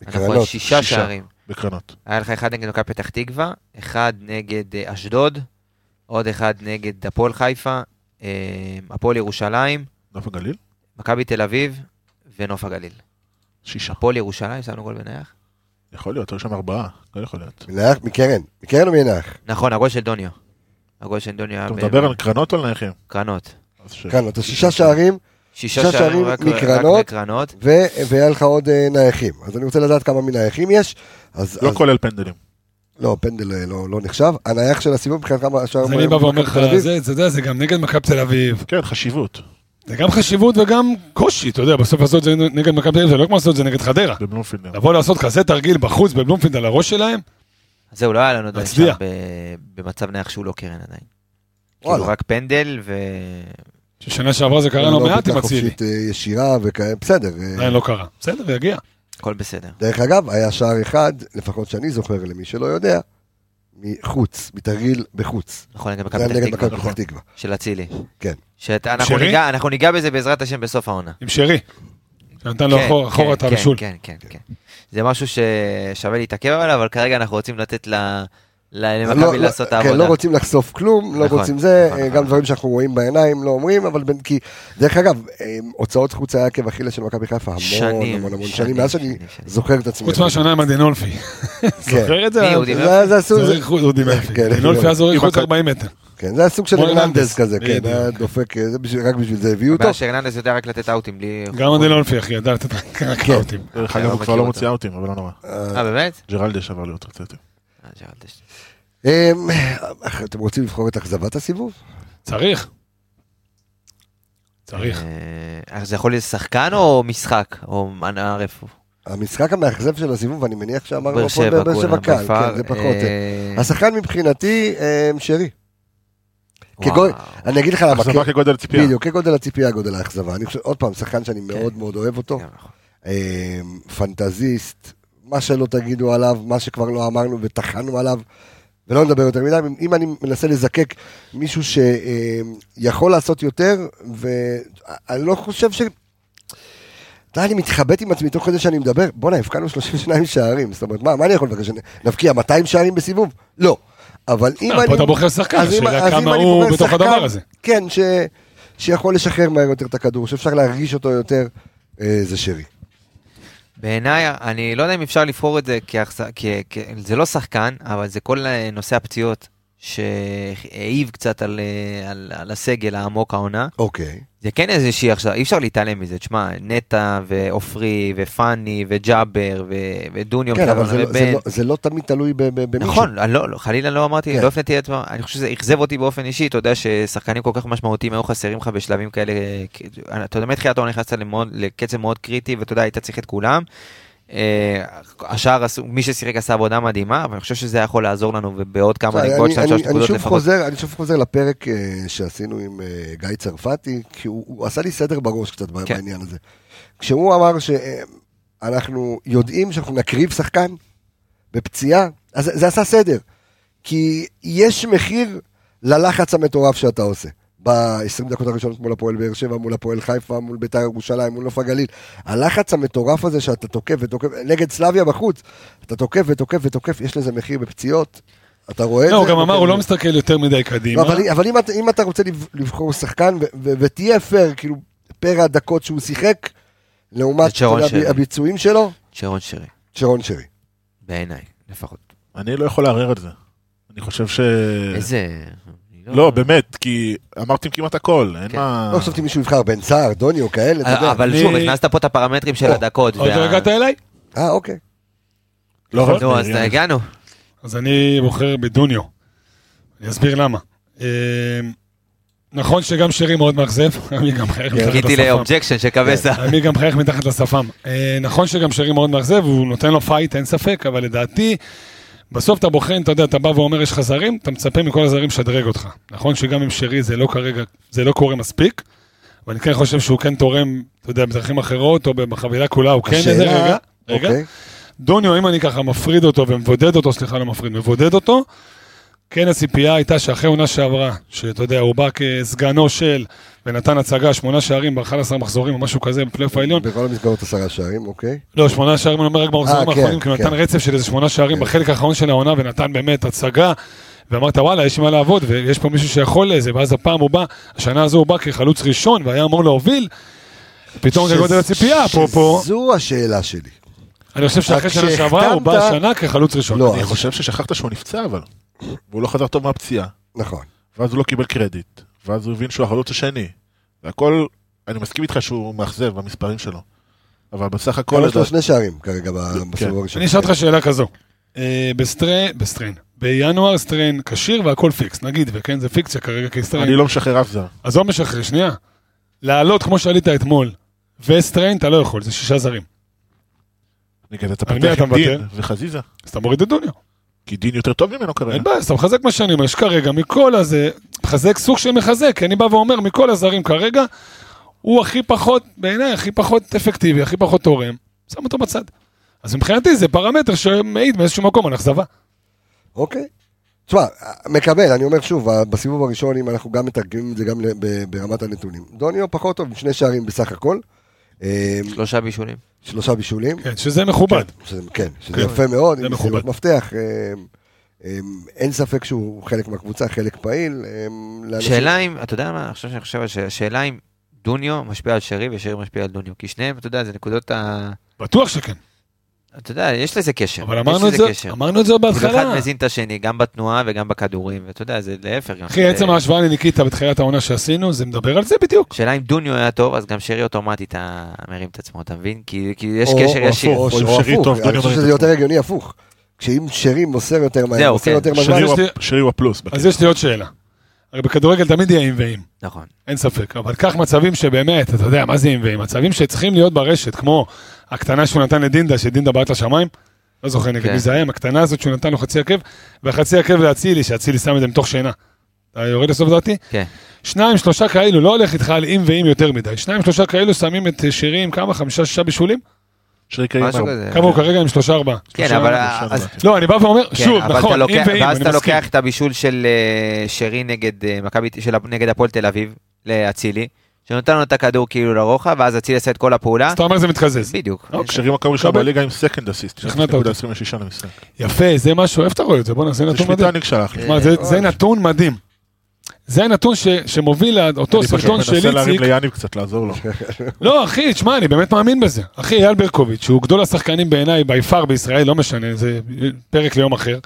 S4: אנחנו על שישה
S6: שישה.
S4: שערים.
S6: בקרנות.
S4: היה לך אחד נגד מכבי פתח תקווה, אחד נגד אה, אשדוד, עוד אחד נגד הפועל חיפה, אה, הפועל ירושלים,
S6: נוף הגליל?
S4: מכבי תל אביב ונוף הגליל.
S6: שישה.
S4: הפועל ירושלים, שמנו גול בנייח.
S6: יכול להיות, היו שם ארבעה, לא יכול להיות.
S4: אה,
S1: מנייח מקרן, מקרן או מנייח?
S4: נכון, הגול של דוניו. הגול של דוניו היה
S6: אתה מדבר על קרנות או על נייחים?
S4: בקרנות.
S6: אז ש-
S1: כאן, אתה שישה שערים
S4: שישה
S1: שישה
S4: שערים
S1: שערים
S4: רק-
S1: מקרנות.
S4: רק מקרנות.
S1: ו- והיה לך עוד אה, נייחים. אז אני רוצה לדעת כמה מנייחים יש. אז,
S6: לא
S1: אז-
S6: כולל פנדלים.
S1: לא, פנדל אה, לא, לא נחשב. הנייח של הסיבוב מבחינת כמה השער...
S5: אז אני בא ואומר לך, זה- אתה יודע, זה גם נגד מכבי תל אביב.
S6: כן, חשיבות.
S5: זה גם חשיבות וגם קושי, אתה יודע, בסוף לעשות את זה נגד מכבי תל אביב, זה לא כמו לעשות את זה נגד חדרה.
S6: בבלומפילד.
S5: לבוא לעשות כזה תרגיל בחוץ בבלומפילד על הראש שלהם,
S4: אז זהו, לא היה לנו עדיין
S5: מצליח.
S4: שם ב- במצב נייח שהוא לא קרן עדיין.
S1: וואלה.
S4: כאילו רק פנדל ו...
S5: ששנה שעברה זה קרה לא מעט עם אצילי.
S1: אה, ישירה וכאלה, בסדר. אה,
S5: עדיין לא קרה. בסדר, יגיע.
S4: הכל בסדר.
S1: דרך אגב, היה שער אחד, לפחות שאני זוכר, למי שלא יודע, מחוץ, מתרגיל בחוץ.
S4: נכון, נגד
S1: זה היה
S4: מכבי
S1: נגד
S4: פתח
S1: מכבי
S4: תקווה. נכון.
S1: פתח תקווה.
S4: של אצילי.
S1: כן.
S4: שאנחנו
S5: שרי?
S4: ניגע, אנחנו ניגע בזה בעזרת השם בסוף העונה.
S5: עם שרי. שנתן לו
S4: כן,
S5: אחורה-
S4: כן,
S5: אחורה את
S4: כן,
S5: הבישול.
S4: כן, כן, כן. זה משהו ששווה להתעכב עליו, אבל כרגע אנחנו רוצים לתת ל- ל-
S1: לא-
S4: למכבי
S1: לא-
S4: לעשות את
S1: כן, לא
S4: העבודה.
S1: רוצים לחשוף כלום, לא
S4: נכון,
S1: רוצים זה,
S4: נכון,
S1: אה,
S4: נכון.
S1: גם דברים שאנחנו רואים בעיניים לא אומרים, אבל בין כי, דרך אגב, אה, הוצאות חוץ היה עקב אכילס של מכבי חיפה המון
S4: שנים,
S1: המון המון
S4: שנים,
S1: שנים, מאז שאני
S4: שנים, שנים.
S1: זוכר את עצמי. כן,
S5: חוץ מהשנה עם הדינולפי. זוכר את זה?
S4: כן. מי, אודי
S1: זה היה- זה עשו- זה-
S5: זורק חוץ, אודי מרפי.
S1: כן,
S5: דינולפי אז זורק
S6: אם
S5: חוץ
S6: אתה-
S5: 40 מטר.
S1: כן, זה היה סוג של
S5: כמו
S1: הרננדז
S5: הרננדז,
S1: כזה, כן,
S5: בדיוק.
S1: היה דופק, אה, זה בשביל- רק בשביל זה הביאו אותו.
S4: הבעיה שהרננדס יודע רק לתת אאוטים בלי...
S5: גם הדינולפי, אחי, ידע לתת רק
S1: כן.
S5: קאוטים.
S6: דרך
S4: אני
S6: אגב,
S4: לא
S6: הוא כבר
S4: מכיר
S6: לא
S4: אותו.
S6: מוציא אאוטים, אבל לא נורא.
S4: אה, באמת?
S6: ג'רלדה שבר לי אותו קצת.
S4: אה, ג'רלדש.
S1: אמ, אתם רוצים לבחור את אכזבת הסיבוב?
S5: צריך. צריך.
S4: אה, אז זה יכול להיות שחקן או משחק? או ענף?
S1: המשחק המאכזב של הסיבוב, אני מניח
S4: באר
S1: שאמרנו פה
S4: שבע,
S1: בבאר שבע
S4: כולם,
S1: קל,
S4: בפער,
S1: כן, זה פחות.
S4: אה,
S1: זה. השחקן מבחינתי, אה, שרי.
S4: וואו.
S1: כגול- אני אגיד לך למה,
S6: אכזבה
S1: כ-
S6: כגודל ציפייה.
S1: בדיוק, כגודל הציפייה, גודל האכזבה. אני חושב, עוד פעם, שחקן שאני מאוד מאוד אוהב אותו,
S4: גם נכון.
S1: אה, פנטזיסט, מה שלא תגידו עליו, מה שכבר לא אמרנו וטחנו עליו, ולא נדבר יותר מדי. אם- אם אני מנסה לזקק מישהו שיכול לעשות יותר, ואני לא חושב ש... אתה יודע, אני מתחבט עם עצמי תוך כדי שאני מדבר, בואנה, הבקענו 32 שערים, זאת אומרת, מה, מה אני יכול לבקש? נבקיע 200 שערים בסיבוב? לא. אבל אם
S5: אה,
S1: אני...
S5: פה אתה בוחר שחקן,
S1: אז אם-
S5: השאלה
S1: אז אם
S5: כמה
S1: אני
S5: הוא
S1: בוחר
S5: בתוך
S1: שחקן,
S5: הדבר הזה.
S1: כן, ש... שיכול לשחרר מהר יותר את הכדור, שאפשר להרגיש אותו יותר, אה, זה שרי.
S4: בעיניי, אני לא יודע אם אפשר לבחור את זה, כהחס... כ... כ... זה לא שחקן, אבל זה כל אה, נושא הפציעות שהעיב קצת על, אה, על, על הסגל העמוק העונה.
S1: אוקיי.
S4: זה כן איזושהי עכשיו, אי אפשר להתעלם מזה, תשמע, נטע ועופרי ופאני וג'אבר ו... ודוניו,
S1: כן, אבל זה לא-
S4: ובן.
S1: זה לא- זה לא תמיד תלוי ב- ב- במישהו.
S4: נכון, אני לא, לא, חלילה לא אמרתי,
S1: כן.
S4: לא הפניתי את אני חושב שזה אכזב אותי באופן אישי, אתה יודע ששחקנים כל כך משמעותיים היו חסרים לך בשלבים כאלה, כ- אתה יודע, מתחילת העונה נכנסת למאוד- לקצב מאוד קריטי, ואתה יודע, היית צריך את כולם. אה, השאר, עשו- מי ששיחק עשה עבודה מדהימה, אבל אני חושב שזה היה יכול לעזור לנו בעוד כמה
S1: אני-
S4: נקודות, שתיים,
S1: אני-
S4: שלוש
S1: אני
S4: נקודות
S1: שוב
S4: לפחות.
S1: חוזר- אני שוב חוזר לפרק אה, שעשינו עם אה, גיא צרפתי, כי הוא הוא עשה לי סדר בראש קצת
S4: כן.
S1: בעניין הזה. כשהוא אמר שאנחנו יודעים שאנחנו נקריב שחקן בפציעה, אז זה- זה עשה סדר. כי יש מחיר ללחץ המטורף שאתה עושה. ב-20 דקות הראשונות מול הפועל באר שבע, מול הפועל חיפה, מול ביתר ירושלים, מול נוף הגליל. הלחץ המטורף הזה שאתה תוקף ותוקף, נגד סלביה בחוץ, אתה תוקף ותוקף ותוקף, יש לזה מחיר בפציעות. אתה רואה את
S5: לא,
S1: זה?
S5: הוא גם אמר, הוא לא אה?
S1: אוקיי.
S5: מסתכל יותר מדי קדימה.
S1: לא, אבל, אבל אם, אתה- אם אתה רוצה לב- לבחור שחקן, ו- ו- ותהיה פייר, כאילו, פר הדקות שהוא שיחק, לעומת
S4: את שרון
S1: אתה יודע,
S4: שרי.
S1: הביצועים שלו,
S4: שרון שרי,
S1: שרון שרי.
S4: בעיניי, לפחות.
S6: אני לא יכול לערער את זה. אני חושב ש...
S5: כן.
S4: איזה... אה,
S6: לא, באמת, כי אמרתם כמעט הכל, אין
S4: כן.
S5: אה.
S6: מה...
S1: לא חשבתי מישהו יבחר בן סער, דוני או כאלה, אתה יודע.
S4: אה, אבל
S5: אני-
S4: שוב, הכנסת פה את הפרמטרים של
S1: או,
S4: הדקות.
S5: עוד לא
S4: וה-
S5: הגעת אליי?
S1: אה, אוקיי.
S6: לא, אבל-
S4: נו,
S5: כן.
S4: אז הגענו.
S5: אז אני בוחר בדוניו. אני אסביר למה. אה, נכון שגם שרי מאוד מאכזב, (laughs) אני גם חייך
S1: כן.
S5: מתחת לשפם.
S4: חיכיתי לאובג'קשן של קבסה.
S5: כן. אני גם מחייך מתחת לשפם. אה, נכון שגם שרי מאוד מאכזב, הוא נותן לו פייט, אין ספק, אבל לדעתי, בסוף אתה בוחן, אתה יודע, אתה בא ואומר יש לך זרים, אתה מצפה מכל הזרים לשדרג אותך. נכון שגם עם שרי זה לא כרגע, זה לא קורה מספיק, אבל אני כן חושב שהוא כן תורם, אתה יודע, בדרכים אחרות, או בחבילה כולה, הוא כן איזה
S1: השאלה-
S5: רגע. רגע.
S1: אוקיי.
S5: דוניו, אם אני ככה מפריד אותו ומבודד אותו, סליחה, לא מפריד, מבודד אותו, כן הציפייה הייתה שאחרי עונה שעברה, שאתה יודע, הוא בא כסגנו של, ונתן הצגה, שמונה שערים ב-11 מחזורים או משהו כזה בפלייאוף העליון,
S1: בכל המסגרות עשרה שערים, אוקיי.
S5: לא, שמונה שערים, אני אומר רק במחזורים
S1: אה, כן,
S5: האחרונים, כי הוא
S1: כן.
S5: נתן רצף של איזה שמונה שערים
S1: כן.
S5: בחלק האחרון של העונה, ונתן באמת הצגה, ואמרת, וואלה, יש לי מה לעבוד, ויש פה מישהו שיכול לזה, ואז הפעם הוא בא, השנה הזו הוא בא כחלוץ ראשון, והיה אמור להוביל, פתאום זה
S1: שזה-
S5: גודל הציפייה, אפרופו,
S1: שזו השאלה שלי.
S5: אני חושב שאחרי
S1: רק
S5: שנה שעברה, הוא בא
S1: כשהחתמת-
S5: השנה כחלוץ ראשון.
S1: לא,
S6: אני
S1: אז-
S6: חושב ששכחת שהוא נפצע, אבל. והוא לא חזר טוב מהפציעה,
S1: נכון.
S6: ואז הוא לא קיבל קרדיט, ואז הוא הבין שהוא החלוץ השני. והכל, אני מסכים איתך שהוא מאכזב במספרים שלו. אבל בסך הכל...
S1: יש לו
S6: לדעתי-
S1: שני שערים כרגע ב- בסיבוב הראשון.
S5: כן. אני אשאל אותך שאלה כזו. אה, בסטרי- בסטריין, בינואר סטריין כשיר והכל פיקס, נגיד, וכן, זה פיקציה כרגע, כי סטריין...
S6: אני לא משחרר אף זר.
S5: עזוב משחרר, שנייה. לעלות כמו שעלית אתמול, וסטריין אתה לא יכול, זה שישה זרים.
S6: אני כזה, אתה
S5: על מי
S6: פותח
S5: אתה
S6: עם דין
S5: מוותר?
S6: וחזיזה.
S5: אז אתה מוריד את דוניו.
S6: אוקיי. כי דין יותר טוב ממנו כרגע.
S5: אין בעיה, אז אתה מחזק מה שאני אומר, יש כרגע מכל הזה, מחזק סוג של מחזק, כי אני בא ואומר, מכל הזרים כרגע, הוא הכי פחות, בעיניי, הכי פחות אפקטיבי, הכי פחות תורם, שם אותו בצד. אז מבחינתי זה פרמטר שמעיד מאיזשהו מקום על אכזבה.
S1: אוקיי. תשמע, מקבל, אני אומר שוב, בסיבוב הראשון, אם אנחנו גם מתרגמים את זה גם ל- ב- ברמת הנתונים. דוניו פחות טוב, עם שני שערים בסך הכל. אה,
S4: שלושה בישולים.
S1: שלושה בישולים.
S5: כן, שזה מכובד.
S1: שזה- כן, שזה
S5: כן.
S1: יפה מאוד,
S5: זה
S1: עם
S5: מכובד.
S1: מסירות מפתח. אה, אה, אין ספק שהוא חלק מהקבוצה, חלק פעיל. אה, לאנשים-
S4: שאלה אם, אתה יודע מה, עכשיו שאני חושב על שאלה, שאלה אם דוניו משפיע על שרי ושרי משפיע על דוניו, כי שניהם, אתה יודע, זה נקודות ה...
S6: כן.
S5: בטוח שכן.
S4: אתה יודע, יש לזה קשר.
S5: אבל
S4: יש
S5: אמרנו את
S4: לזה
S5: זה,
S4: קשר.
S5: אמרנו את זה
S4: כן, כאילו אחד
S5: בהתחלה.
S4: מזין את השני, גם בתנועה וגם בכדורים, ואתה יודע, זה להפך. גם.
S5: אחי,
S4: זה-
S5: עצם ההשוואה לניקיטה בתחילת העונה שעשינו, זה מדבר על זה בדיוק.
S4: שאלה אם דוניו היה טוב, אז גם שרי אוטומטית היה מרים את עצמו, אתה מבין? כי כי יש
S1: או-
S4: קשר
S1: או
S4: ישיר.
S1: הפוך,
S6: או
S1: או
S6: אם שרי
S1: הפוך,
S6: טוב, דוניו
S1: אני חושב
S6: מרים
S1: שזה
S6: את
S1: יותר
S6: עצמו.
S1: הגיוני הפוך. כשאם שרי מוסר יותר מהר,
S4: זהו,
S1: מוסר
S4: כן.
S1: יותר
S6: שרי
S1: מהר,
S6: הוא
S5: יש
S6: הפ- שרי הוא הפלוס. בקטע.
S5: אז יש לי עוד שאלה. הרי בכדורגל תמיד יהיה עם ועם.
S4: נכון.
S5: אין ספק, אבל קח מצבים שבאמת, אתה יודע, מה זה אם ואם? מצבים שצריכים להיות ברשת, כמו הקטנה שהוא נתן לדינדה, שדינדה בעט לשמיים, לא זוכר נגד
S4: כן.
S5: מי זה היה, עם הקטנה הזאת שהוא נתן לו חצי עקב, והחצי עקב לאצילי, שאצילי שם את זה מתוך שינה. אתה יורד לסוף דעתי?
S4: כן.
S5: שניים, שלושה כאלו, לא הולך איתך על אם ואם יותר מדי. שניים, שלושה כאלו שמים את שירי עם כמה? חמישה, שישה בישולים?
S6: שרי קיים
S4: משהו
S6: ארבע.
S4: כזה.
S5: כמה הוא כרגע עם שלושה, ארבעה.
S4: כן,
S5: שלושה,
S4: אבל...
S5: ארבעה.
S6: שלושה,
S4: אז-
S6: ארבעה.
S5: לא, אני בא ואומר,
S4: כן,
S5: שוב,
S4: אבל אתה
S5: נכון, אם
S4: לוקח-
S5: ואם,
S4: ואז
S5: אני
S4: אתה
S5: מסכים.
S4: לוקח את הבישול של אה, שרי נגד אה, מכבי, של נגד הפועל תל אביב, לאצילי, שנתן לו את הכדור כאילו לרוחב, ואז אצילי עשה את כל הפעולה.
S5: אז אתה אומר זה מתקזז.
S4: בדיוק.
S5: אוקיי.
S6: שרי מקום ראשון
S5: קבל.
S6: בליגה עם סקנד אסיסט.
S5: שכנעת אותי.
S6: 26 למשחק.
S5: יפה, זה משהו, איפה אתה רואה את זה? בוא'נה, זה
S6: זה
S5: נתון מדהים.
S6: שמיטניק שלח לי.
S5: תשמע, זה- זה נתון מדהים. זה הנתון ש, שמוביל לאותו
S6: אני פשוט
S5: סרטון של
S6: מנסה
S5: איציק.
S6: להרים ליאניב קצת, לעזור לו.
S5: לא, אחי, תשמע, אני באמת מאמין בזה. אחי, אייל ברקוביץ', שהוא גדול השחקנים בעיניי בי פאר בישראל, לא משנה, זה פרק ליום אחר.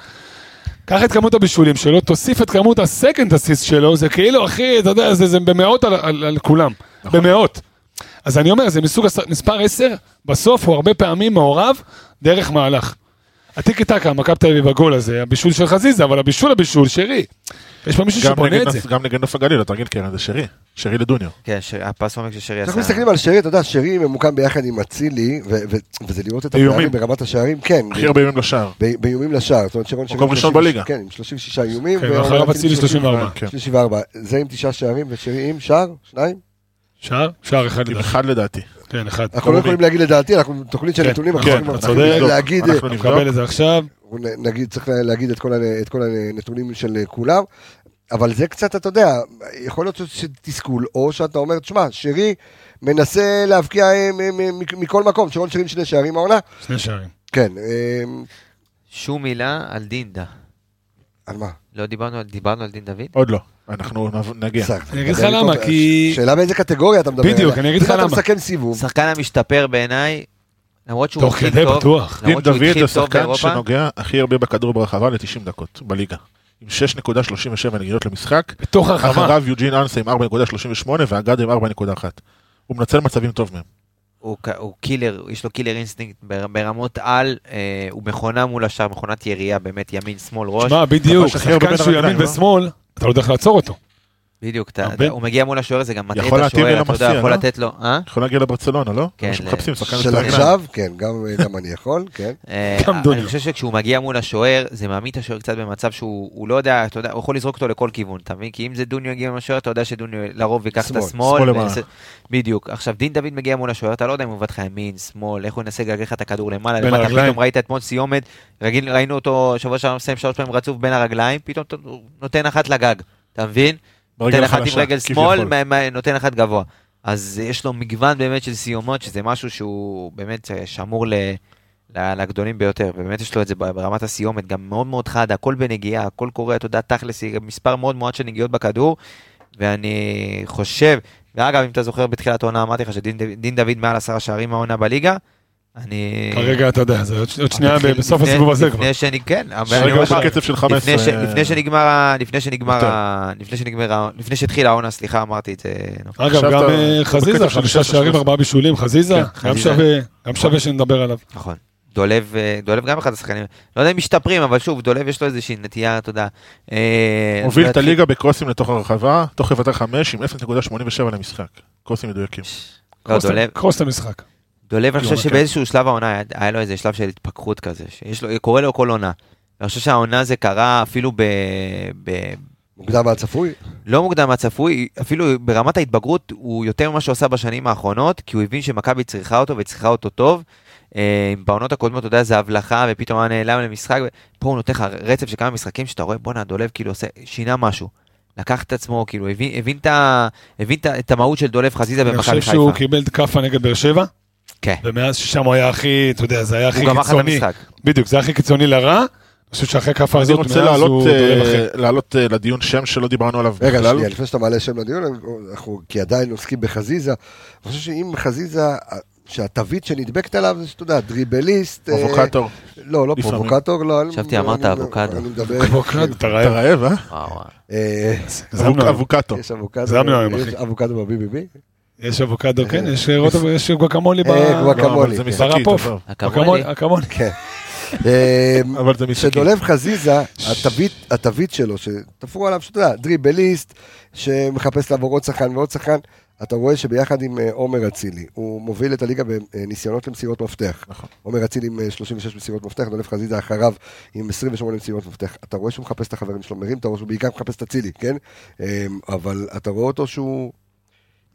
S5: קח את כמות הבישולים שלו, תוסיף את כמות הסקנד אסיסט שלו, זה כאילו, אחי, אתה יודע, זה, זה במאות על, על, על כולם. במאות. אז אני אומר, זה מסוג הס- מספר 10, בסוף הוא הרבה פעמים מעורב דרך מהלך. הטיקי טקה, מכבי תל אביב הגול הזה, הבישול של חזיזה, אבל הבישול, הבישול, שרי. יש פה מישהו
S6: גם
S5: שבונה
S6: נגד
S5: את זה.
S6: נוף- גם נגד נוף הגליל, התרגיל קרן זה שרי, שרי לדוניו.
S4: כן, ש- הפס עומק ששרי עשה.
S1: אנחנו מסתכלים על שרי, אתה יודע, שרי ממוקם ביחד עם אצילי, ו- ו- וזה לראות את
S6: איומים.
S1: הפערים ברמת השערים, כן,
S6: הכי הרבה ימים לשער.
S1: ב- באיומים לשער. זאת אומרת שרון שרי...
S6: מקום ראשון
S1: 36
S6: בליגה.
S1: כן, עם 36 איומים.
S5: כן,
S1: ואורן
S5: ואחריו
S1: אצילי
S5: אצילי 34.
S6: כן.
S1: 34. זה עם תשעה שערים, ושרי עם שער? שניים?
S5: שער? שער אחד
S6: עם
S5: לדעתי.
S6: אחד לדעתי.
S5: כן, אחד.
S1: אנחנו לא יכולים להגיד לדעתי, אנחנו בתוכנית של
S5: כן,
S1: נתונים,
S5: כן,
S1: אנחנו
S5: אתה
S1: צריכים
S5: צודק.
S1: להגיד, אה,
S6: אנחנו
S5: אני
S6: נבדוק.
S5: מקבל את זה עכשיו.
S1: אנחנו נ- נגיד, צריך להגיד את כל ה- את כל הנתונים של כולם, אבל זה קצת, אתה יודע, יכול להיות שתסכול, או שאתה אומר, תשמע, שרי מנסה להבקיע אה, מ- מ- מ- מכל מקום, שרון שרי עם שני שערים העונה,
S5: שני שערים.
S1: כן, אה,
S4: שום מילה על דינדה.
S1: על מה?
S4: לא דיברנו על, דיברנו על דין דוד?
S6: עוד לא. אנחנו נב- נגיע.
S1: בסדר,
S5: אני אגיד לך
S1: מדבר
S5: למה,
S1: איתו-
S5: כי-
S1: שאלה באיזה קטגוריה אתה מדבר.
S5: בדיוק,
S1: עליה.
S5: אני אגיד לך
S1: אם
S5: למה.
S1: אתה מסכם סיבוב,
S4: שחקן המשתפר בעיניי, למרות שהוא
S5: תוך
S4: התחיל
S5: כדי
S4: טוב,
S5: בטוח.
S6: דין
S4: למרות שהוא
S6: דוד
S4: התחיל
S6: זה
S4: טוב
S6: שחקן
S4: באירופה,
S6: שנוגע הכי הרבה בכדור ברחבה ל-90 דקות בליגה. עם 6.37 נגידות למשחק.
S5: בתוך הרחבה.
S6: אחריו יוג'ין אנסה עם 4.38 ואגד עם 4.1. הוא מנצל מצבים טוב מהם.
S4: הוא ק- הוא קילר, יש לו קילר אינסטינקט בר- ברמות על, אה, הוא מכונה מול השאר, מכונת ירייה באמת, ימין, שמאל, ראש.
S5: שמע, בדיוק,
S6: כבש הכי הרבה
S5: שחקן
S6: בין
S5: שהוא ימין
S6: הרגליים, לא?
S5: ושמאל, אתה לא יודע איך לעצור אותו.
S4: בדיוק, אתה-
S5: הרבה-
S4: אתה- הוא מגיע מול השוער, זה גם מטעה
S6: יכול
S4: את
S6: להתאים לי
S4: השוער, אתה יודע,
S6: למפסיע,
S4: יכול
S6: לא?
S4: לתת לו, אה?
S6: יכול להגיע לברצלונה, לא?
S4: כן,
S6: אנשים מחפשים שחקן
S1: של
S6: מסתכל.
S1: עכשיו, כן, גם גם אני יכול, כן.
S4: אה,
S5: גם דוניו.
S4: אני חושב שכשהוא מגיע מול השוער, זה מעמיד את השוער קצת במצב שהוא הוא לא יודע, אתה יודע, הוא יכול לזרוק אותו לכל כיוון, אתה מבין? כי אם זה דוניו יגיע מול השוער, אתה יודע שדוניו לרוב ייקח את
S1: שמאל,
S4: השמאל.
S6: שמאל
S4: וינסה-
S6: למעלה.
S4: בדיוק. עכשיו, דין דוד מגיע מול השוער, אתה לא יודע אם הוא עובד לך ימין, שמאל, איך הוא ינסה לגלגל לך את הכדור למעלה,
S5: בין
S4: למטה,
S5: הרגליים.
S4: פתאום ראית אתמול סיומת, רגיל- ראינו אותו שבוע שעבר מסיים שלוש פעמים רצוף בין הרגליים, פתאום אתה- הוא נותן אחת לגג, אתה מבין?
S6: ברגל
S4: נותן אחת עם
S6: החלשה,
S4: רגל
S6: כביכול.
S4: שמאל, מה- מה- נותן אחת גבוה. אז יש לו מגוון באמת של סיומות, שזה משהו שהוא באמת אה, שמור ל... ל- לגדולים ביותר, ובאמת יש לו את זה ברמת הסיומת, גם מאוד מאוד חד, הכל בנגיעה, הכל קורה, אתה יודע, תכלס, מספר מאוד מועט של נגיעות בכדור, ואני חושב, ואגב, אם אתה זוכר בתחילת העונה, אמרתי לך שדין דוד- דין דוד מעל עשרה שערים העונה בליגה, אני...
S5: כרגע אתה יודע, זה עוד ש- עוד שנייה
S4: מתחיל
S5: בסוף
S4: לפני-
S5: הסיבוב הזה כבר.
S4: לפני שאני, כן, אבל אני
S6: שרגע
S4: אומר
S6: הוא
S4: לך,
S6: בקצב של
S4: לפני ש-
S6: 15.
S4: לפני שנגמר, ה- לפני שנגמר,
S6: אה, יותר.
S4: ה- לפני שנגמר, ה- לפני שהתחילה העונה, סליחה, אמרתי את זה. נו.
S5: אגב,
S6: עכשיו
S5: גם
S6: אתה-
S5: אה,
S6: אתה
S5: חזיזה,
S6: בקצב של
S5: חמישה
S6: 16,
S5: שערים,
S6: 17.
S5: ארבעה בישולים, חזיזה, גם
S4: חזיזה.
S5: שווה, גם שווה שנדבר עליו.
S4: נכון. דולב, אה, דולב גם אחד השחקנים, לא יודע אם משתפרים, אבל שוב, דולב יש לו איזושהי נטייה, אתה יודע. אה,
S6: מוביל את
S4: להתחיל-
S6: הליגה בקרוסים לתוך הרחבה, תוך יבטר 5 עם 0.87 למשחק. קרוסים מדויקים.
S4: לא,
S5: קרוס את-
S4: דולב,
S5: קרוס את המשחק.
S4: דולב, אני חושב
S6: יונתן.
S4: שבאיזשהו שלב העונה, היה- היה לו איזה שלב של התפכחות כזה, שיש לו, קורה לו כל עונה. אני חושב שהעונה זה קרה אפילו ב... ב-
S1: מוקדם מהצפוי,
S4: לא מוקדם מהצפוי, אפילו ברמת ההתבגרות הוא יותר ממה שהוא עשה בשנים האחרונות, כי הוא הבין שמכבי צריכה אותו וצריכה אותו טוב. אה, בעונות הקודמות, אתה יודע, זה הבלחה, ופתאום היה נעלם למשחק, פה הוא נותן לך רצף של כמה משחקים שאתה רואה, בואנה, דולב כאילו עושה, שינה משהו. לקח את עצמו, כאילו, הבין, הבין, את, ה- הבין את, ה- את המהות של דולב חזיזה
S5: אני
S4: במכבי חיפה.
S5: חושב שהוא קיבל כאפה נגד באר שבע,
S4: כן,
S5: ומאז ששם הוא היה הכי, אתה יודע, זה היה הכי
S4: הוא גמר לך את
S5: קיצוני.
S4: המשחק.
S5: בדיוק, זה היה הכי קיצוני לרע. אני חושב שאחרי כאפה
S6: אני
S5: הזאת,
S6: רוצה
S5: מאז הוא
S6: להעלות,
S5: דולב
S6: אה,
S5: אחר.
S6: להעלות אה, לדיון שם שלא דיברנו עליו
S1: רגע,
S5: לא.
S6: בכלל.
S1: שנייה, לפני שאתה מעלה שם לדיון, אנחנו, כי עדיין עוסקים בחזיזה, אני חושב שאם חזיזה, שהתווית שנדבקת עליו זה שאתה יודע, דריבליסט, אה,
S6: פרובוקטור.
S1: לא, לא
S6: לפעמים.
S1: פרובוקטור, לא, אני-
S4: חשבתי אמרת
S1: אני-
S4: אבוקדו.
S1: אני מדבר,
S5: אבוקדו, אתה
S6: אתה
S5: רעב.
S6: רעב, אה?
S4: וואו, וואו.
S1: אה,
S5: זמנו.
S6: אבוק- אבוקטו.
S1: יש אבוקדו,
S5: זה המנועים,
S1: יש
S5: אחי.
S1: אבוקדו בבי-בי-בי,
S5: יש אבוקדו, כן, יש רוטב- יש גואקמולי ב...
S1: אה, גואק-
S6: לא, אבל
S1: אקמולי,
S6: זה
S1: כן.
S6: משחקית,
S5: ברפוף.
S6: עזוב.
S4: אקמולי.
S5: אקמולי. (laughs)
S1: כן. אה,
S6: אבל זה משחקית.
S1: כשדולב חזיזה, התווית, התווית שלו, שתפרו עליו, שאתה יודע, דריבליסט, שמחפש לעבור עוד שחקן ועוד שחקן, אתה רואה שביחד עם אה, עומר אצילי, הוא מוביל את הליגה בניסיונות למסירות מפתח.
S6: נכון.
S1: עומר אצילי עם אה, 36 מסירות מפתח, דולב חזיזה אחריו עם 28 מסירות מפתח. אתה רואה שהוא מחפש את החברים שלו, מרים את הראש, הוא בעיקר מחפש את אצילי, כן? אה, אבל אתה רואה אותו שהוא...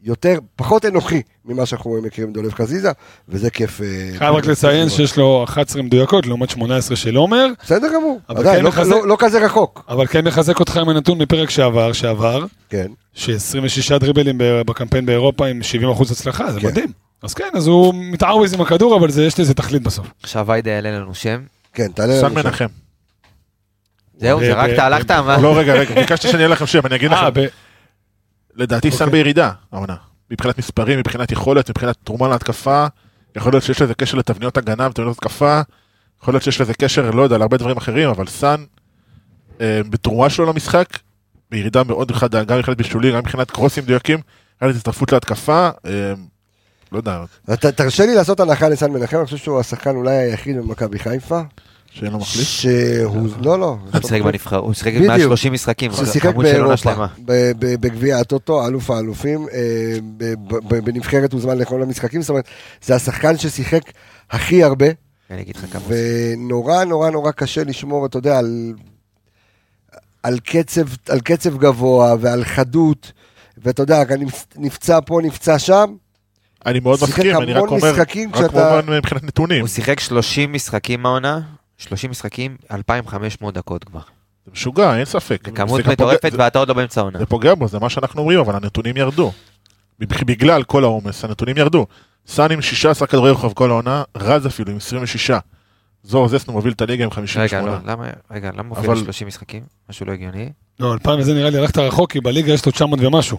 S1: יותר, פחות אנוכי ממה שאנחנו מכירים דולב חזיזה, וזה כיף. אה,
S5: חייב רק לציין שיש לו 11 מדויקות לעומת 18 של עומר,
S1: בסדר גמור,
S5: אבל
S1: עדיין,
S5: כן
S1: לא-
S5: מחזק-
S1: לא- לא כזה רחוק.
S5: אבל כן מחזק אותך עם הנתון מפרק שעבר, שעבר,
S1: כן.
S5: ש-26 דריבלים ב- בקמפיין באירופה עם 70% הצלחה, זה
S1: כן.
S5: מדהים. אז כן, אז הוא מתערוויז עם הכדור, אבל זה- יש לזה תכלית בסוף.
S4: עכשיו ויידה יעלה לנו שם.
S1: כן, תעלה
S6: סן
S1: לנו שם.
S6: מנחם.
S4: זהו,
S5: ב-
S4: זרקת,
S5: ב-
S4: הלכת,
S1: אה.
S4: אמרת.
S6: לא, רגע, רגע, ביקשת שאני אהיה לכם שם, אני אגיד
S5: אה,
S6: לכם.
S5: ב-
S6: לדעתי
S1: אוקיי.
S6: סן בירידה, העונה. מבחינת מספרים, מבחינת יכולת, מבחינת תרומה להתקפה. יכול להיות שיש לזה קשר לתבניות הגנה ותבניות התקפה. יכול להיות שיש לזה קשר, לא יודע, להרבה דברים אחרים, אבל סאן, אה, בתרומה שלו למשחק, בירידה מאוד חדה, גם מבחינת בישולים, גם מבחינת קרוסים מדויקים, גם הצטרפות להתקפה, אה, לא יודע,
S1: אתה- תרשה לי לעשות הנחה לסן מנחם, אני חושב שהוא השחקן אולי היחיד במכבי חיפה.
S6: שאין לו מחליף.
S1: שהוא...
S6: אה,
S1: לא, לא.
S4: הוא משחק בנבחרת, הוא משחק מעל
S1: בדיוק.
S4: 30 משחקים,
S1: ששיחק
S4: עמוד של עונה
S1: באירופה,
S4: שלמה.
S1: ב- ב- בגביע הטוטו, אלוף האלופים, אה, ב- ב- ב- בנבחרת הוזמן לכל המשחקים, זאת אומרת, זה השחקן ששיחק הכי הרבה,
S4: אני אגיד לך כמה. הוא
S1: ונורא נורא נורא קשה לשמור, אתה יודע, על, על, קצב, על קצב גבוה ועל חדות, ואתה יודע, אני נפצע פה, נפצע שם,
S6: אני מאוד
S1: שיחק
S6: מסכים, אני רק
S1: המון
S6: אומר,
S1: משחקים
S6: רק
S1: כשאתה-
S6: כמובן מבחינת נתונים,
S4: הוא שיחק 30 משחקים העונה, 30 משחקים, 2,500 דקות כבר.
S6: זה משוגע, אין ספק.
S4: זה כמות
S6: זה גם פוגע-
S4: מטורפת
S6: זה-
S4: ואתה עוד לא באמצע העונה.
S6: זה פוגע בו, זה מה שאנחנו אומרים, אבל הנתונים ירדו. בג- בגלל כל העומס, הנתונים ירדו. סאן עם 16 כדורי רוחב כל העונה, רז אפילו עם 26. זור זסנו מוביל את הליגה עם
S4: רגע, לא,
S6: 58.
S4: למה, רגע, למה
S6: אבל-
S4: מופיע 30 משחקים? משהו לא הגיוני?
S5: לא, הפעם הזה נראה לי הלכת רחוק, כי בליגה יש לו 900 ומשהו.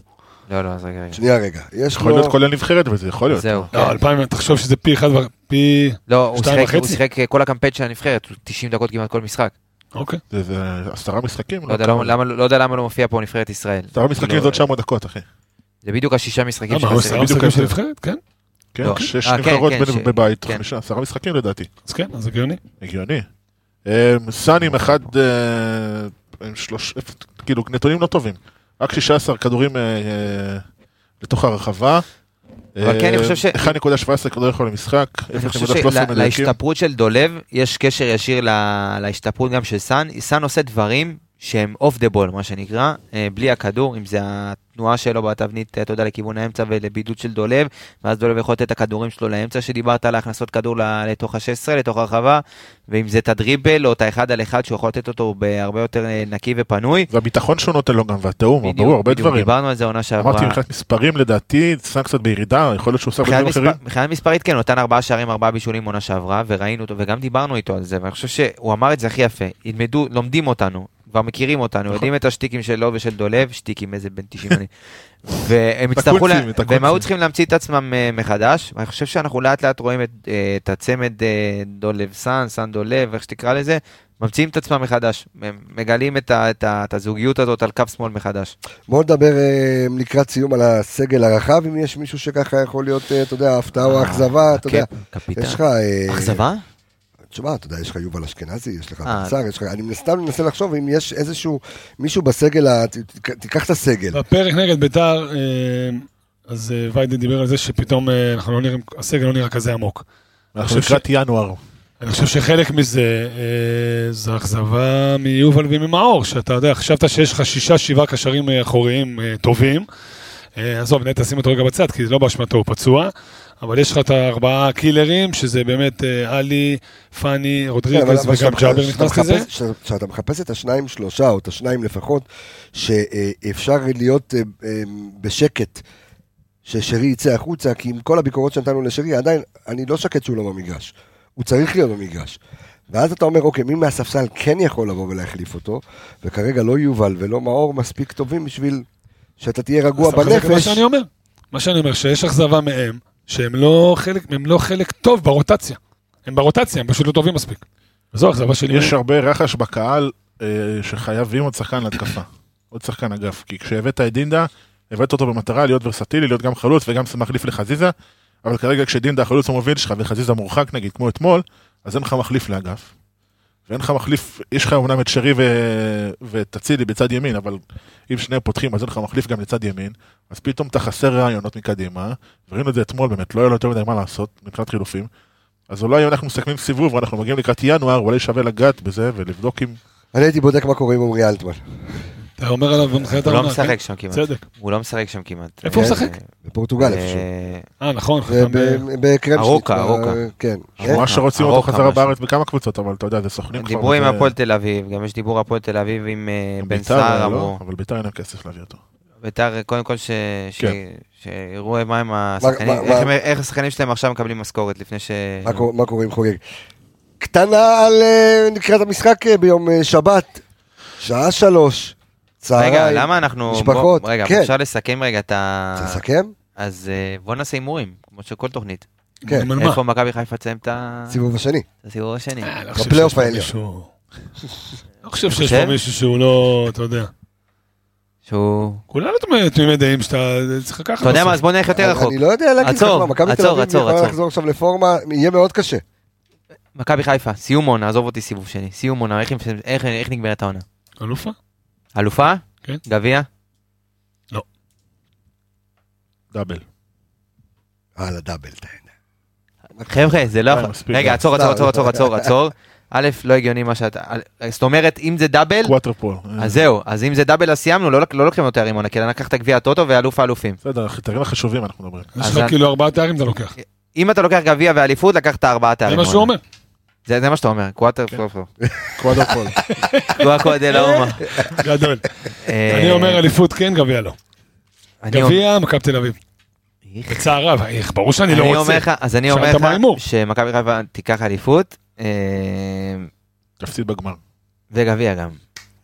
S4: לא, לא, אז רגע, רגע.
S1: שנייה רגע, יש
S6: יכול
S1: לו...
S6: להיות כולל נבחרת וזה יכול להיות.
S4: זהו. כן.
S5: לא, 2,000, תחשוב שזה פי אחד, ו- פי...
S4: לא, הוא
S5: שתיים
S4: שיחק-
S5: וחצי?
S4: הוא שיחק כל הקמפיין של הנבחרת, הוא 90 דקות כמעט כל משחק.
S5: אוקיי.
S6: זה- זה עשרה משחקים?
S4: לא יודע למה- למה- לא יודע למה לא מופיע פה נבחרת ישראל.
S6: עשרה נכון. משחקים
S4: לא,
S6: זה עוד 900 דקות, אחי.
S4: זה בדיוק השישה משחקים
S5: למה, הוא עשרה
S4: שחסרים.
S6: בדיוק
S5: משחקים של
S6: ההבדל.
S5: נבחרת? כן?
S6: כן,
S4: לא.
S6: שש
S4: אה, כן,
S6: נבחרות
S4: כן,
S6: בין-
S4: ש-
S6: בבית,
S4: כן.
S6: חמישה, עשרה משחקים לדעתי.
S5: אז כן, אז הגיוני.
S6: הגיוני. אמ, סאן עם אחד, אה, עם שלוש, כאילו נתונים לא טובים. רק 16 כדורים אה, אה, לתוך הרחבה. אמ,
S4: אבל כן, אני חושב ש-
S6: 1.17 כדורי יכול למשחק.
S4: אני חושב
S6: 0.13 מדויקים.
S4: שלהשתפרות של דולב יש קשר ישיר לה- להשתפרות גם של סאן. סאן עושה דברים שהם אוף דה בול, מה שנקרא, אה, בלי הכדור, אם זה התנועה שלו בתבנית, אה, אתה יודע, לכיוון האמצע ולבידוד של דולב, ואז דולב יכול לתת את הכדורים שלו לאמצע שדיברת על הכנסת כדור ל- לתוך ה-16, לתוך הרחבה, ואם זה את הדריבל או את האחד על אחד שהוא יכול לתת אותו בהרבה יותר אה, נקי ופנוי.
S6: והביטחון שהוא נותן לו גם, והתיאום, ברור, הרבה
S4: בדיוק,
S6: דברים.
S4: דיברנו על זה עונה שעברה.
S6: אמרתי מבחינת מספרים לדעתי, סאן קצת בירידה, יכול להיות שהוא עושה
S4: מבחינת
S6: בדברים אחרים.
S4: מספר- מבחינת מספרית כן, הוא נתן ארבעה שערים, ארבעה בישולים עונה שעברה, וראינו אותו, וגם דיברנו איתו על זה, ואני חושב שהוא אמר את זה הכי יפה. ילמדו, לומדים אותנו, כבר מכירים אותנו, יודעים את השטיקים שלו ושל דולב, שטיקים איזה בן 90 אני. והם
S6: את
S4: יצטרכו, לה-
S6: הקונצים, את
S4: והם היו
S6: הקונצים.
S4: צריכים להמציא את עצמם אה, מחדש, ואני חושב שאנחנו לאט לאט רואים את, אה, את הצמד אה, דולב סאן, סאן דולב, איך שתקרא לזה, ממציאים את עצמם מחדש, הם מגלים את ה- את ה- את הזוגיות הזאת על קו שמאל מחדש.
S1: בואו נדבר אה, לקראת סיום על הסגל הרחב, אם יש מישהו שככה יכול להיות, אה, אתה יודע, הפתעה או אכזבה, אתה יודע.
S4: כן, קפיטן.
S1: יש לך... אה,
S4: אכזבה?
S1: תשמע, אתה יודע, יש לך יובל אשכנזי, יש לך
S4: אה.
S1: בצר, יש לך... אני סתם מנסה לחשוב אם יש איזשהו מישהו בסגל, ה- ת- ת- תיקח את הסגל.
S5: בפרק נגד ביתר, אה, אז אה, ויידי דיבר על זה שפתאום אה, אנחנו לא נראים, הסגל לא נראה כזה עמוק.
S6: אנחנו לקראת ינואר.
S5: אני חושב שחלק מזה אה, זה אכזבה מיובל וממאור, שאתה יודע, חשבת שיש לך שישה, שבעה קשרים אה, אחוריים אה, טובים. אה, עזוב, נהיה תשים אותו רגע בצד, כי זה לא באשמתו, הוא פצוע. אבל יש לך את הארבעה קילרים, שזה באמת אה, עלי, פאני,
S1: כן, אבל-
S5: רודריגז
S1: אבל
S5: וגם
S1: כשאתה-
S5: ג'אבר
S1: כשאתה
S5: נכנס לזה.
S1: מחפש- כשאתה- כשאתה מחפש את השניים, שלושה, או את השניים לפחות, שאפשר להיות אה, אה, בשקט. ששרי יצא החוצה, כי עם כל הביקורות שנתנו לשרי, עדיין, אני לא שקט שהוא לא במגרש. הוא צריך להיות במגרש. ואז אתה אומר, אוקיי, מי מהספסל כן יכול לבוא ולהחליף אותו, וכרגע לא יובל ולא מאור מספיק טובים בשביל שאתה תהיה רגוע
S5: אז אתה מחזק את מה
S1: בנפש.
S5: שאני אומר, מה שאני אומר, שיש אכזבה מהם, שהם לא חלק, הם לא חלק טוב ברוטציה. הם ברוטציה, הם פשוט לא טובים מספיק. זו אכזבה שלי.
S6: יש הרבה רחש בקהל אה, שחייבים עוד שחקן להתקפה. (coughs) עוד שחקן אגף. כי כשהבאת את דינדה, הבאת אותו במטרה להיות ורסטילי, להיות גם חלוץ וגם מחליף לחזיזה, אבל כרגע כשדינדה החלוץ המוביל שלך וחזיזה מורחק נגיד, כמו אתמול, אז אין לך מחליף לאגף. ואין לך מחליף, יש לך אומנם את שרי ו... ואת אצילי בצד ימין, אבל אם שניהם פותחים אז אין לך מחליף גם לצד ימין, אז פתאום אתה חסר רעיונות מקדימה, וראינו את זה אתמול באמת, לא היה לו יותר מדי מה לעשות מבחינת חילופים, אז אולי אם אנחנו מסכמים סיבוב, אנחנו מגיעים לקראת ינואר, אולי שווה לגעת בזה ולבדוק אם...
S1: אני הייתי בודק מה קורה עם עמרי אלטמן.
S5: אתה אומר עליו במחיית
S4: הוא לא
S5: העונה, כן?
S4: משחק שם כמעט.
S5: צדק.
S4: הוא לא משחק שם כמעט.
S5: איפה הוא
S4: אה,
S5: משחק?
S1: בפורטוגל
S4: אה,
S1: איפשהו.
S5: אה, נכון,
S1: זה
S5: חתם ב-
S1: ב- בקרמשניט.
S4: ארוקה,
S1: ב-
S4: ארוקה.
S1: כן.
S4: אה,
S6: ממש שרוצים אותו
S4: ארוך
S6: חזרה
S4: ממש.
S6: בארץ בכמה קבוצות, אבל אתה יודע, זה סוכנים כבר.
S4: דיברו עם
S6: וזה-
S4: הפועל תל אביב, גם יש דיבור הפועל תל אביב עם אה, בן
S6: ביתר,
S4: סער,
S6: לא?
S4: אמרו.
S6: אבל ביתר אין להם כסף להביא אותו.
S4: ביתר, קודם כל, ש- ש-
S6: כן.
S4: שיראו מה עם השחקנים,
S1: מה-
S4: איך
S1: מה-
S4: הם- איך השחקנים שלהם עכשיו מקבלים משכורת לפני ש...
S1: מה קורה- מה קורה עם חוגג? קטנה על אה, לקראת המשחק אה, ביום אה, שבת. שעה שלוש, צהריים,
S4: רגע, למה אנחנו...
S1: משפחות,
S4: בוא, רגע,
S1: כן.
S4: אפשר לסכם רגע את ה...
S1: תסכם?
S4: אז אה, בוא נעשה הימורים, כמו שכל תוכנית.
S1: כן,
S5: אבל מה?
S4: איפה מכבי חיפה תסיים את ה-
S1: סיבוב השני.
S4: את הסיבוב השני?
S5: אה, לא חושב
S1: בפלייאוף
S5: שיש פה
S1: העליון.
S5: מישהו- לא חושב שיש
S4: חושב?
S5: פה מישהו שהוא לא, אתה יודע.
S4: שהוא...
S5: כולנו תמ- תמימי דעים שאתה צריך לקחת.
S4: אתה יודע
S5: בסוף.
S4: מה, אז בוא נלך יותר רחוק.
S1: אני לא יודע להגיד לך
S4: עצור,
S1: מה, מכבי תל
S4: עצור,
S1: אביב
S4: עצור,
S1: יכולה
S4: עצור.
S1: לחזור עכשיו לפורמה, יהיה מאוד קשה.
S4: מכבי חיפה, סיום עונה, עזוב אותי סיבוב שני. סיום עונה, איך- איך- איך נגמרת העונה?
S5: אלופה?
S4: אלופה?
S5: כן.
S4: גביע?
S6: דאבל.
S1: על הדאבל טיין.
S4: חבר'ה, זה לא
S6: די,
S4: יכול...
S6: מספיק,
S4: רגע,
S6: די.
S4: עצור, עצור, עצור, עצור, עצור, עצור. א', לא הגיוני מה שאתה... א', זאת אומרת, אם זה דאבל,
S6: קוואטרפול.
S4: אז זהו. אז אם זה דאבל, אז סיימנו, לא לק- לא לוקחים לו תארים עונה, כי לקחת גביע הטוטו ואלוף האלופים.
S6: בסדר, התארים החשובים אנחנו מדברים.
S5: יש
S4: אז-
S5: לך כאילו ארבעה תארים אתה לוקח.
S4: אם אתה לוקח גביע ואליפות, לקחת ארבעה
S5: זה
S4: תארים
S5: מה שהוא
S4: עונה.
S5: אומר. כן.
S4: זה זה מה שאתה אומר, קוואטר פרופו.
S6: קוואטרפול.
S4: קוואקו דה לאומה. (laughs)
S5: גדול.
S4: אה.
S5: אני אומר אליפות כן, גביע לא. גביע, מכבי תל אביב. בצער רב, איך, ברור שאני לא
S4: אני
S5: רוצה.
S4: אומר לך, אז אני
S5: שאלת
S4: אומר לך
S5: מה ההימור.
S4: שמכבי חיפה תיקח אליפות, אה,
S6: תפסיד בגמר.
S4: וגביע גם.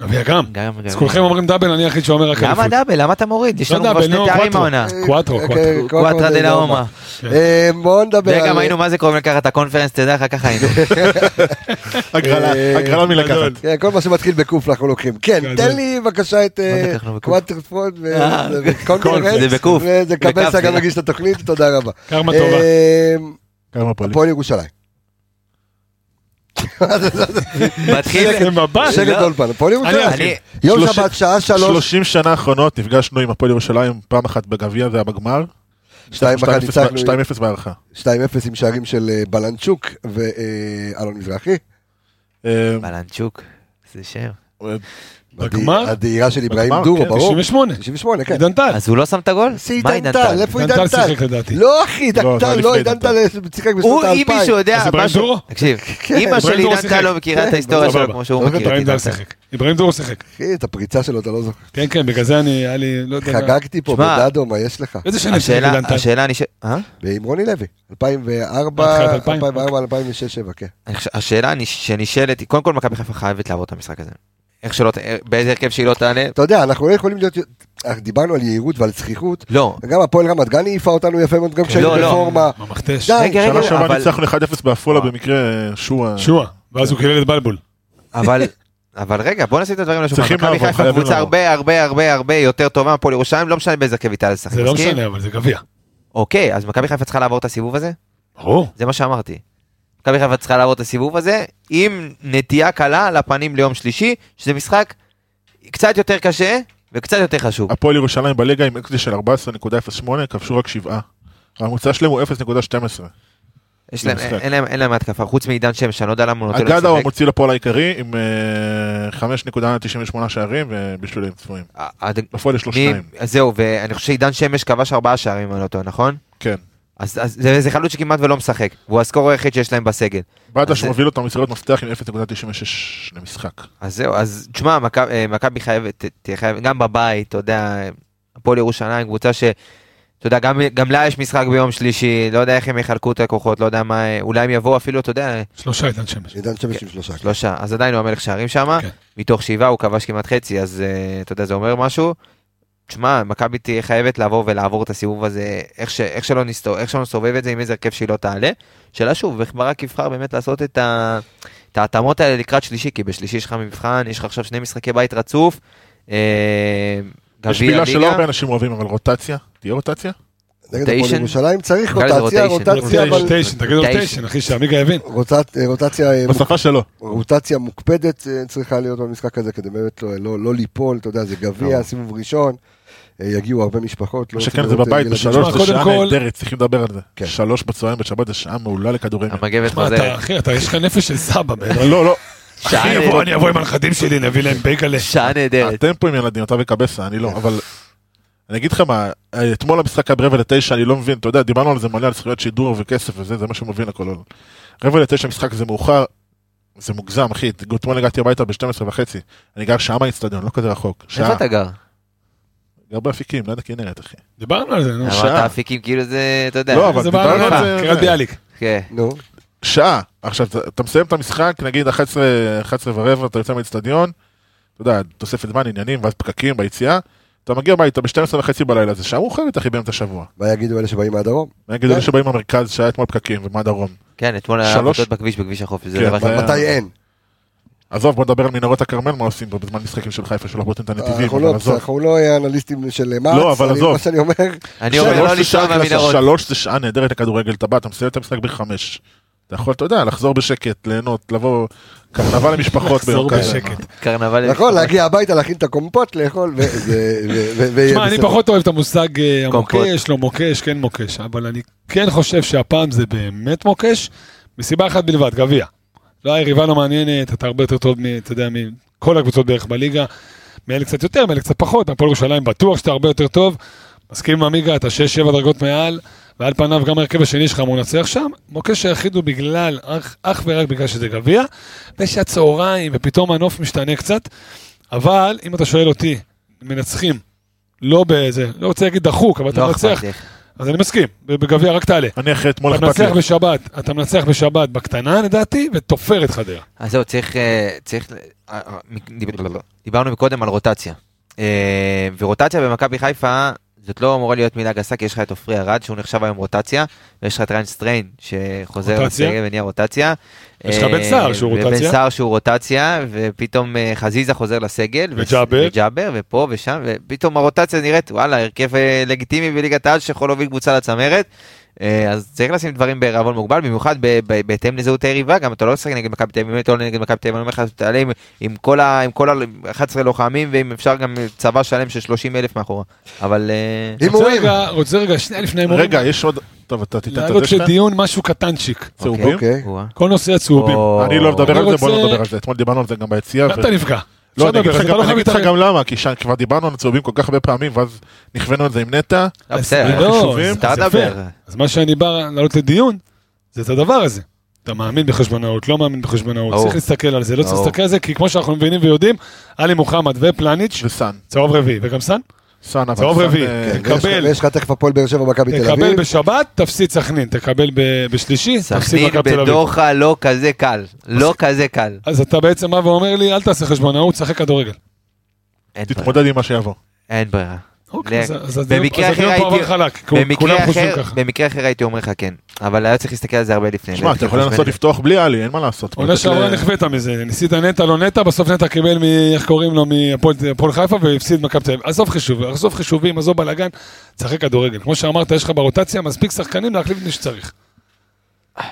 S5: גביע גם.
S4: גם גביע.
S5: אז כולכם אומרים דאבל, אני היחיד שאומר רק
S4: למה
S5: אליפות.
S4: דאבל? למה אתה מוריד? יש
S5: לא
S4: לנו כבר
S5: דאבל,
S4: שני
S5: נו,
S4: תארים
S5: קוואטרו.
S4: העונה.
S5: קוואטרו,
S1: אה,
S5: קוואטרו.
S1: אה,
S4: קוואטרה דה לאומה.
S1: אה, בואו נדבר על... אה,
S4: וגם היינו מה זה קוראים לקחת את הקונפרנס, תדע לך, ככה
S1: (laughs)
S4: היינו.
S6: הגרלה,
S1: אה,
S6: הגרלה מלקחת.
S1: כן, כל מה שמתחיל בקוף אנחנו לוקחים. כן,
S5: גדול.
S1: תן לי בבקשה את אה,
S4: לקחנו בקוף?
S1: קוואטרפון
S4: אה,
S1: וקונקרנט.
S4: זה בקוף.
S1: וזה
S4: בקף,
S1: קבסה אה, גם
S4: סליחה.
S1: מגיש את התוכנית, תודה רבה.
S5: קרמה טובה.
S1: אה,
S6: כמה פועלים.
S1: הפועל ירושלים.
S4: מתחיל...
S5: זה מבט.
S1: שקט
S4: לא.
S1: אולפן, הפועל ירושלים.
S5: אני-
S4: אני-
S1: יום
S6: שלושים-
S1: שבת, שעה שלוש,
S6: 30 שנה האחרונות נפגשנו עם הפועל ירושלים פעם אחת בגביע זה היה בגמר.
S1: שתיים אחת
S6: 2-0
S1: ניצחנו.
S6: 2-0 בהערכה.
S1: 2-0 עם שערים של אה, בלנצ'וק ואלון מזרחי.
S6: אה,
S4: בלנצ'וק, זה שם.
S6: אה,
S5: בגמר?
S1: הדהירה של אברהים
S6: בגמר,
S1: דורו,
S6: כן,
S1: ברור.
S5: 98.
S1: 98, כן.
S5: עידן טל.
S4: אז הוא לא שם את הגול?
S1: זה
S4: מה
S1: עידן
S4: עידן
S1: טל,
S4: טל?
S1: איפה
S5: עידן
S1: עידן
S5: טל
S1: טל?
S5: שיחק לדעתי.
S1: לא אחי,
S6: לא,
S1: עידן
S6: זה היה
S1: טל, לא
S6: לפני
S1: עידן
S6: עידן
S1: טל שיחק בשנות
S4: הוא, אם
S1: האלפיים.
S4: מישהו יודע
S5: אז אברהם
S4: משהו...
S5: דורו?
S4: תקשיב,
S1: כן,
S4: אמא של
S5: אברהם דורו
S4: עידן
S5: שיחק.
S4: טל לא מכירה את ההיסטוריה שלו
S5: סבבה.
S4: כמו שהוא מכיר את
S5: אברהים
S4: עידן
S5: דל
S4: טל.
S5: אוקיי, שיחק. אברהים דרור שיחק.
S1: אחי, את הפריצה שלו אתה לא זוכר.
S5: כן, כן, בגלל זה אני, היה לי, לא יודע. מה.
S1: חגגתי פה
S4: שמע,
S1: בדדו, מה יש לך?
S5: איזה שנים שיחק
S4: השאלה,
S5: עידן טל?
S4: השאלה נשאלת, אה?
S1: עם רוני לוי, 2004,
S6: אה,
S5: מתחילת 2000.
S1: 2004, 2006, 2007, כן.
S4: אני חושב- השאלה נש- שנשאלת היא, קודם כל מכבי חיפה חייבת לעבור את המשחק הזה. איך שלא, ת- באיזה הרכב שהיא לא תעלה,
S1: אתה יודע, אנחנו לא יכולים להיות... דיברנו על יהירות ועל זכיחות.
S4: לא.
S1: גם הפועל רמת גן העיפה אותנו יפה מאוד, גם כשהיינו
S4: לא, לא.
S1: בפורמה.
S5: ממכתש.
S1: די.
S4: רגע,
S6: שנה
S4: רגע,
S6: שעברה
S4: אבל-
S6: ניצחנו 1-0 בעפולה במקרה אה, שועה.
S5: שועה. ואז הוא קילל את בלבול.
S4: אבל... אבל רגע, בוא נשים את הדברים על השולחן.
S6: צריכים
S4: מכבי
S6: לעבור,
S4: חיפה
S6: חייבים
S4: קבוצה
S6: לעבור.
S4: הרבה הרבה הרבה הרבה יותר טובה מהפועל ירושלים, לא משנה באיזה הרכב היא תעלה לשחק.
S5: זה לא
S4: מסכים?
S5: משנה, אבל זה גביע.
S4: אוקיי, אז מכבי חיפה צריכה לעבור את הסיבוב הזה?
S5: ברור.
S4: זה מה שאמרתי. מכבי חיפה צריכה לעבור את הסיבוב הזה עם נטייה קלה לפנים ליום שלישי, שזה משחק קצת יותר קשה וקצת יותר חשוב.
S6: הפועל ירושלים בליגה עם אקזיט של 14.08 כבשו רק 7. הממוצע שלהם הוא 0.12.
S4: יש להם-
S6: משחק.
S4: אין להם- אין להם התקפה, חוץ מעידן שם, שאני לא יודע למה הוא נותן לו
S6: אגדה הוא
S4: לשחק.
S6: המוציא לפועל העיקרי עם אה, 5.98 שערים ובישולים צפויים.
S4: אה, אה,
S6: בפועל יש לו
S4: מי-
S6: שניים.
S4: אז זהו, ואני חושב שעידן שמש כבש ארבעה שערים, אם אני לא טועה, נכון?
S6: כן.
S4: אז אז זה זה חלוץ שכמעט ולא משחק, והוא הסקור היחיד שיש להם בסגל.
S6: בדה
S4: אז זה-
S6: שמוביל אותם מסירות מפתח עם 0.96 למשחק.
S4: אז זהו, אז תשמע, מכב- אה, מכבי חייבת, ת- תהיה חייבת, גם בבית, אתה יודע, הפועל ירושלים, קבוצה ש... אתה יודע, גם, גם לה יש משחק ביום שלישי, לא יודע איך הם יחלקו את הכוחות, לא יודע מה, אה, אולי הם יבואו אפילו, אתה יודע,
S5: שלושה עידן שמש.
S1: עידן שמש עם שלושה.
S4: שלושה, אז עדיין הוא המלך שערים שם,
S5: כן.
S4: מתוך שבעה הוא כבש כמעט חצי, אז אה, אתה יודע, זה אומר משהו. תשמע, מכבי תהיה חייבת לעבור ולעבור את הסיבוב הזה, איך, ש, איך, שלא, נסתו, איך שלא נסתובב את זה, עם איזה הרכב שהיא לא תעלה. שאלה שוב, איך ברק יבחר באמת לעשות את, ה, את ההתאמות האלה לקראת שלישי, כי בשלישי יש לך מבחן, יש לך עכשיו שני משחקי בית רצוף. אה,
S6: יש
S4: גביע
S6: מילה שלא
S4: ליגה.
S6: הרבה אנשים אוהבים, אבל רוטציה? תהיה רוטציה?
S1: נגד הפועל
S4: רוטיישן?
S1: ירושלים צריך
S4: נקרא לזה
S1: רוטציה,
S4: רוטיישן.
S5: לא,
S1: רוטציה, אבל...
S5: רוטיישן, תגיד
S4: רוטיישן.
S5: רוטיישן, אחי, שעמיגה יבין.
S1: רוצת- אה, רוטציה, אה,
S6: בשפה שלו.
S1: רוטציה מוקפדת אה, צריכה להיות במשחק הזה כדי באמת לא- לא לא ליפול, אתה יודע, זה גביע, סיבוב ראשון, אה, יגיעו הרבה משפחות. לא
S6: לא. מה
S1: רוצים
S6: שכן זה
S1: לראות, אה,
S6: בבית
S1: ילדים.
S5: תשמע,
S6: בשלוש, זה
S5: קודם
S6: שעה
S5: כל-
S6: נהדרת, צריכים לדבר על
S1: כן.
S6: זה. שלוש בצהריים בשבת זה שעה מעולה לכדורגל.
S4: המגבת
S5: מה, אתה,
S4: חוזרת.
S5: אחי, אתה, יש לך נפש של סבא, באמת.
S6: לא, לא.
S4: (laughs) שעה
S5: אחי,
S4: נהדרת.
S5: יבוא, אני אבוא עם הנכדים שלי, נביא להם בייגלה.
S4: שעה נהדרת.
S6: אתם פה עם ילדים, אתה וקבסה, אני
S4: כן.
S6: לא, אבל... אני אגיד לך מה, אה, אתמול המשחק היה ברבע לתשע, אני לא מבין, אתה יודע, דיברנו על זה מלא, על זכויות שידור וכסף וזה, זה מה שמוביל לכל העולם. רבע לתשע משחק זה מאוחר, זה מוגזם, אחי, אתמול הגעתי הביתה ב-12 וחצי, אני גר שעה מהאיצטדיון, לא כזה רחוק. שעה.
S4: איפה אתה גר?
S6: גר באפיקים, ליד הכנרת, אחי.
S5: דיברנו על זה, נו.
S4: אמרת אפיקים, כאילו זה, אתה יודע.
S6: לא, אבל
S5: זה
S6: דיברנו
S5: בעל
S6: על
S5: עליך,
S6: זה-
S5: קריית ביאליק.
S4: כן.
S1: נו,
S6: שעה. עכשיו, אתה- אתה מסיים את המשחק, נגיד 11, 11 ורבע, אתה יוצא מהאיצטדיון, אתה יודע, תוספת זמן, עניינים, ואז פקקים ביציאה. אתה מגיע הביתה ב-12 וחצי בלילה, זה שעה מאוחרת, אחי, באמצע השבוע.
S1: מה יגידו אלה שבאים מהדרום?
S6: אני אגיד
S1: כן.
S6: אלה שבאים מהמרכז, שהיה אתמול פקקים, ומהדרום.
S4: כן, אתמול היה
S6: שלוש-
S4: עבודות בכביש, בכביש החוף, זה
S6: כן,
S4: דבר אחד.
S6: בעיה.
S1: מתי אין?
S6: עזוב, בוא נדבר על מנהרות הכרמל, מה עושים פה בזמן משחקים של חיפה, שלא בוטים את
S5: אה,
S6: הנתיבים,
S1: אנחנו
S6: אבל
S1: לא-
S6: עזוב.
S1: אנחנו לא אנליסטים של מאץ,
S6: לא, אבל
S1: אני-
S6: עזוב.
S1: מה שאני אומר,
S4: אני אומר
S6: שלוש
S4: לא
S6: זה
S4: לנסוע
S6: שעה קלאסה,
S4: מהמנהרות.
S6: שלוש זה שעה נהדרת לכדורגל, אתה בא, אתה מסיים את המשחק בחמש. אתה יכול, אתה יודע, לחזור בשקט, ליהנות, לבוא, קרנבל למשפחות
S5: לחזור
S6: ביום כזה.
S5: בשקט.
S4: קרנבל. לא
S1: נכון, להגיע הביתה, להכין את הקומפוט, לאכול, וזה... ו- ו- ויהיה
S5: תשמע, אני
S1: בסדר.
S5: פחות אוהב את המושג אה,
S4: קומפוט.
S5: המוקש, לא מוקש, כן מוקש, אבל אני כן חושב שהפעם זה באמת מוקש, מסיבה אחת בלבד, גביע. לא, היריבה לא מעניינת, אתה הרבה יותר טוב, מ- אתה יודע, מכל הקבוצות בערך בליגה. מאלה קצת יותר, מאלה קצת פחות, הפועל ירושלים בטוח שאתה הרבה יותר טוב. מסכים עם עמיגה, אתה 6-7 דרגות מעל, ועל פניו גם ההרכב השני שלך אמור לנצח שם. מוקש היחיד הוא בגלל, אך, אך ורק בגלל שזה גביע, ושהצהריים, ופתאום הנוף משתנה קצת. אבל אם אתה שואל אותי, מנצחים, לא באיזה, לא רוצה להגיד דחוק, אבל אתה
S4: לא
S5: מנצח,
S4: אכפת לי.
S5: אז אני מסכים, בגביע רק תעלה.
S6: אני אחרי אתמול
S5: אתה
S6: לא אכפת
S5: מנצח
S6: לי.
S5: בשבת, אתה מנצח בשבת בקטנה לדעתי, ותופר את חדרה.
S4: אז זהו, צריך... אה, צריך ל- אה, אה, מ-
S5: לא,
S4: דיב- דיברנו מקודם על רוטציה. אה, ורוטציה במכבי חיפה, זאת לא אמורה להיות מילה גסה, כי יש לך את עופרי ארד, שהוא נחשב היום רוטציה, ויש לך את ריין סטריין, שחוזר
S5: רוטציה?
S4: לסגל ונהיה רוטציה.
S5: יש לך
S4: אה,
S5: בן סער שהוא
S4: ובן
S5: רוטציה.
S4: סער שהוא רוטציה, ופתאום אה, חזיזה חוזר לסגל. ו-
S5: וג'אבר.
S4: וג'אבר, ופה ושם, ופתאום הרוטציה נראית, וואלה, הרכב אה, לגיטימי בליגת העל שיכול להוביל קבוצה לצמרת. אה, אז צריך לשים דברים בערבון מוגבל, במיוחד ב- ב- בהתאם לזהות היריבה, גם אתה לא משחק נגד מכבי תל אביב, באמת לא נגד מכבי תל אביב, אני אומר לך, תעלה עם- עם כל ה- עם כל ה-11 לוחמים, ואם אפשר גם צבא שלם של 30 אלף מאחורה. אבל אה,
S1: הימורים.
S5: רוצה רגע- רוצה רגע, שנייה לפני ההימורים,
S6: רגע, יש עוד... טוב, אתה תיתן את
S5: להעלות
S6: זה שלך?
S5: לדיון משהו קטנצ'יק.
S6: צהובים?
S1: אוקיי.
S4: וואה.
S5: כל נושא הצהובים.
S4: או-
S6: אני לא אוהב לדבר
S5: אני
S6: על זה, בוא לא
S5: רוצה-
S6: נדבר על זה. אתמול דיברנו על זה גם ביציאה.
S5: גם
S6: ו-
S5: אתה נפגע.
S6: לא,
S5: אפשר
S6: אני אגיד
S5: לדבר,
S6: לך
S5: אתה
S6: גם-
S5: לא
S6: אני
S5: חייב
S6: אגיד לך
S5: להתערב.
S6: גם למה, כי שם כבר דיברנו על צהובים כל כך הרבה פעמים, ואז נכוונו על זה עם נטע.
S4: לא,
S5: אז-
S4: בסדר,
S5: לא,
S6: חישובים,
S5: אז-
S4: אתה
S5: אז
S4: מדבר.
S5: יפה. אז מה שאני בא לעלות לדיון, זה את הדבר הזה. אתה מאמין בחשבונאות, לא מאמין בחשבונאות,
S4: ברור.
S5: צריך להסתכל על זה, לא צריך
S4: ברור.
S5: להסתכל על זה, כי כמו שאנחנו מבינים ויודעים, עלי מוחמד ופלניץ',
S6: וסאן.
S5: צהוב רביעי, וגם סאן,
S6: סאן אבל...
S5: צהוב
S6: סאן,
S5: רביעי.
S6: אה,
S1: כן,
S5: תקבל.
S1: ויש לך- ויש לך תכף הפועל באר שבע מכבי תל
S5: תקבל
S1: אביב.
S5: בשבת, תפסיד סכנין, תקבל ב- בשלישי, תפסיד
S4: סכנין
S5: מכבי תל אביב.
S4: בדוחה לא כזה קל, לא כזה קל.
S5: אז אתה בעצם בא ואומר לי, אל תעשה חשבונאות, שחק כדורגל.
S4: אין
S1: כן.
S4: ברירה.
S6: תתמודד עם מה שיבוא.
S4: אין ברירה.
S5: אוקיי, אז- אז הדיון
S4: במקרה
S5: אז הדיון
S4: אחר
S5: פה עבר
S4: הייתי-
S5: חלק, כי כולם
S4: במקרה
S5: חושבים
S4: אחר-
S5: ככה.
S4: במקרה אחר הייתי אומר לך כן, אבל היה צריך להסתכל על זה הרבה לפני.
S6: שמע, אתה יכול לנסות לפתוח בלי עלי, אין מה לעשות.
S5: עונה שעברה נחווית מזה, ניסית נטע לא נטע, בסוף נטע קיבל מ... איך קוראים לו? מהפועל הפועל חיפה והפסיד מכבי תל אביב. עזוב חישובים, עזוב חישובים, עזוב בלאגן, תשחק כדורגל. כמו שאמרת, יש לך ברוטציה מספיק שחקנים להחליף את מי שצריך.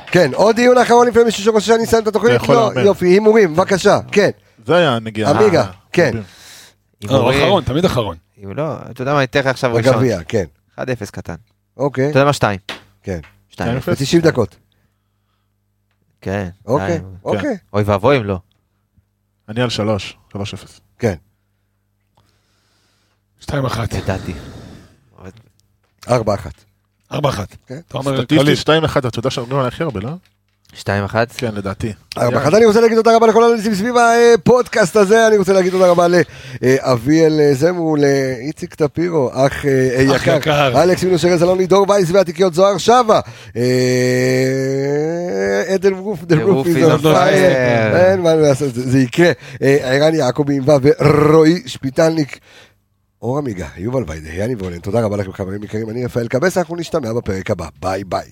S1: כן, עוד דיון אחרון לפני מישהו שחושב שאני אסיים את התוכנית?
S6: אתה יכול
S1: לא,
S6: להמר.
S1: יופי, הימורים, בבקשה, כן.
S6: זה היה הנגיעה.
S1: עמיגה,
S6: אה,
S1: כן.
S6: צהובים.
S5: לא,
S4: אחרון.
S5: אחרון, תמיד אחרון.
S4: לא, אתה יודע מה, אני אתן לך עכשיו ראשון.
S1: בגביע, כן.
S4: 1-0 קטן.
S1: אוקיי,
S4: אתה יודע מה, 2.
S1: כן.
S4: 2.
S6: יפה.
S1: ב-90 דקות.
S4: כן.
S1: אוקיי,
S4: די.
S1: אוקיי.
S4: אוי ואבוי אם לא.
S6: אני על שלוש, שלוש אפס.
S1: כן.
S5: 2-1.
S4: ידעתי. אבל-
S1: 4 אחת.
S5: 4-1.
S1: כן.
S5: אתה אומר, כללי.
S6: סטטיסטית שתיים אחד, אתה יודע שאומרים עלי הכי הרבה, לא?
S4: 2-1.
S6: כן, לדעתי.
S1: ארבע אחת. אני רוצה להגיד תודה רבה לכל האנשים סביב הפודקאסט הזה, אני רוצה להגיד תודה רבה לאביאל אה, זמרו, לאיציק טפירו, אח אה,
S5: אח
S1: יקר,
S5: יקר.
S1: אלכס מינוס ארז אלוני, דור וייס והתיקיות זוהר שבה, אה, אדל רוף,
S4: The
S1: דל רוף
S4: roof is
S1: איז
S4: on fire.
S1: אין מה לעשות, זה זה יקרה, אה, ערן יעקבי ענווה ורועי שפיטלניק. אור עמיגה, יובל ויידה, יאני וולן, תודה רבה לכם חברים יקרים, אני רפאל קבס, אנחנו נשתמע בפרק הבא, ביי ביי.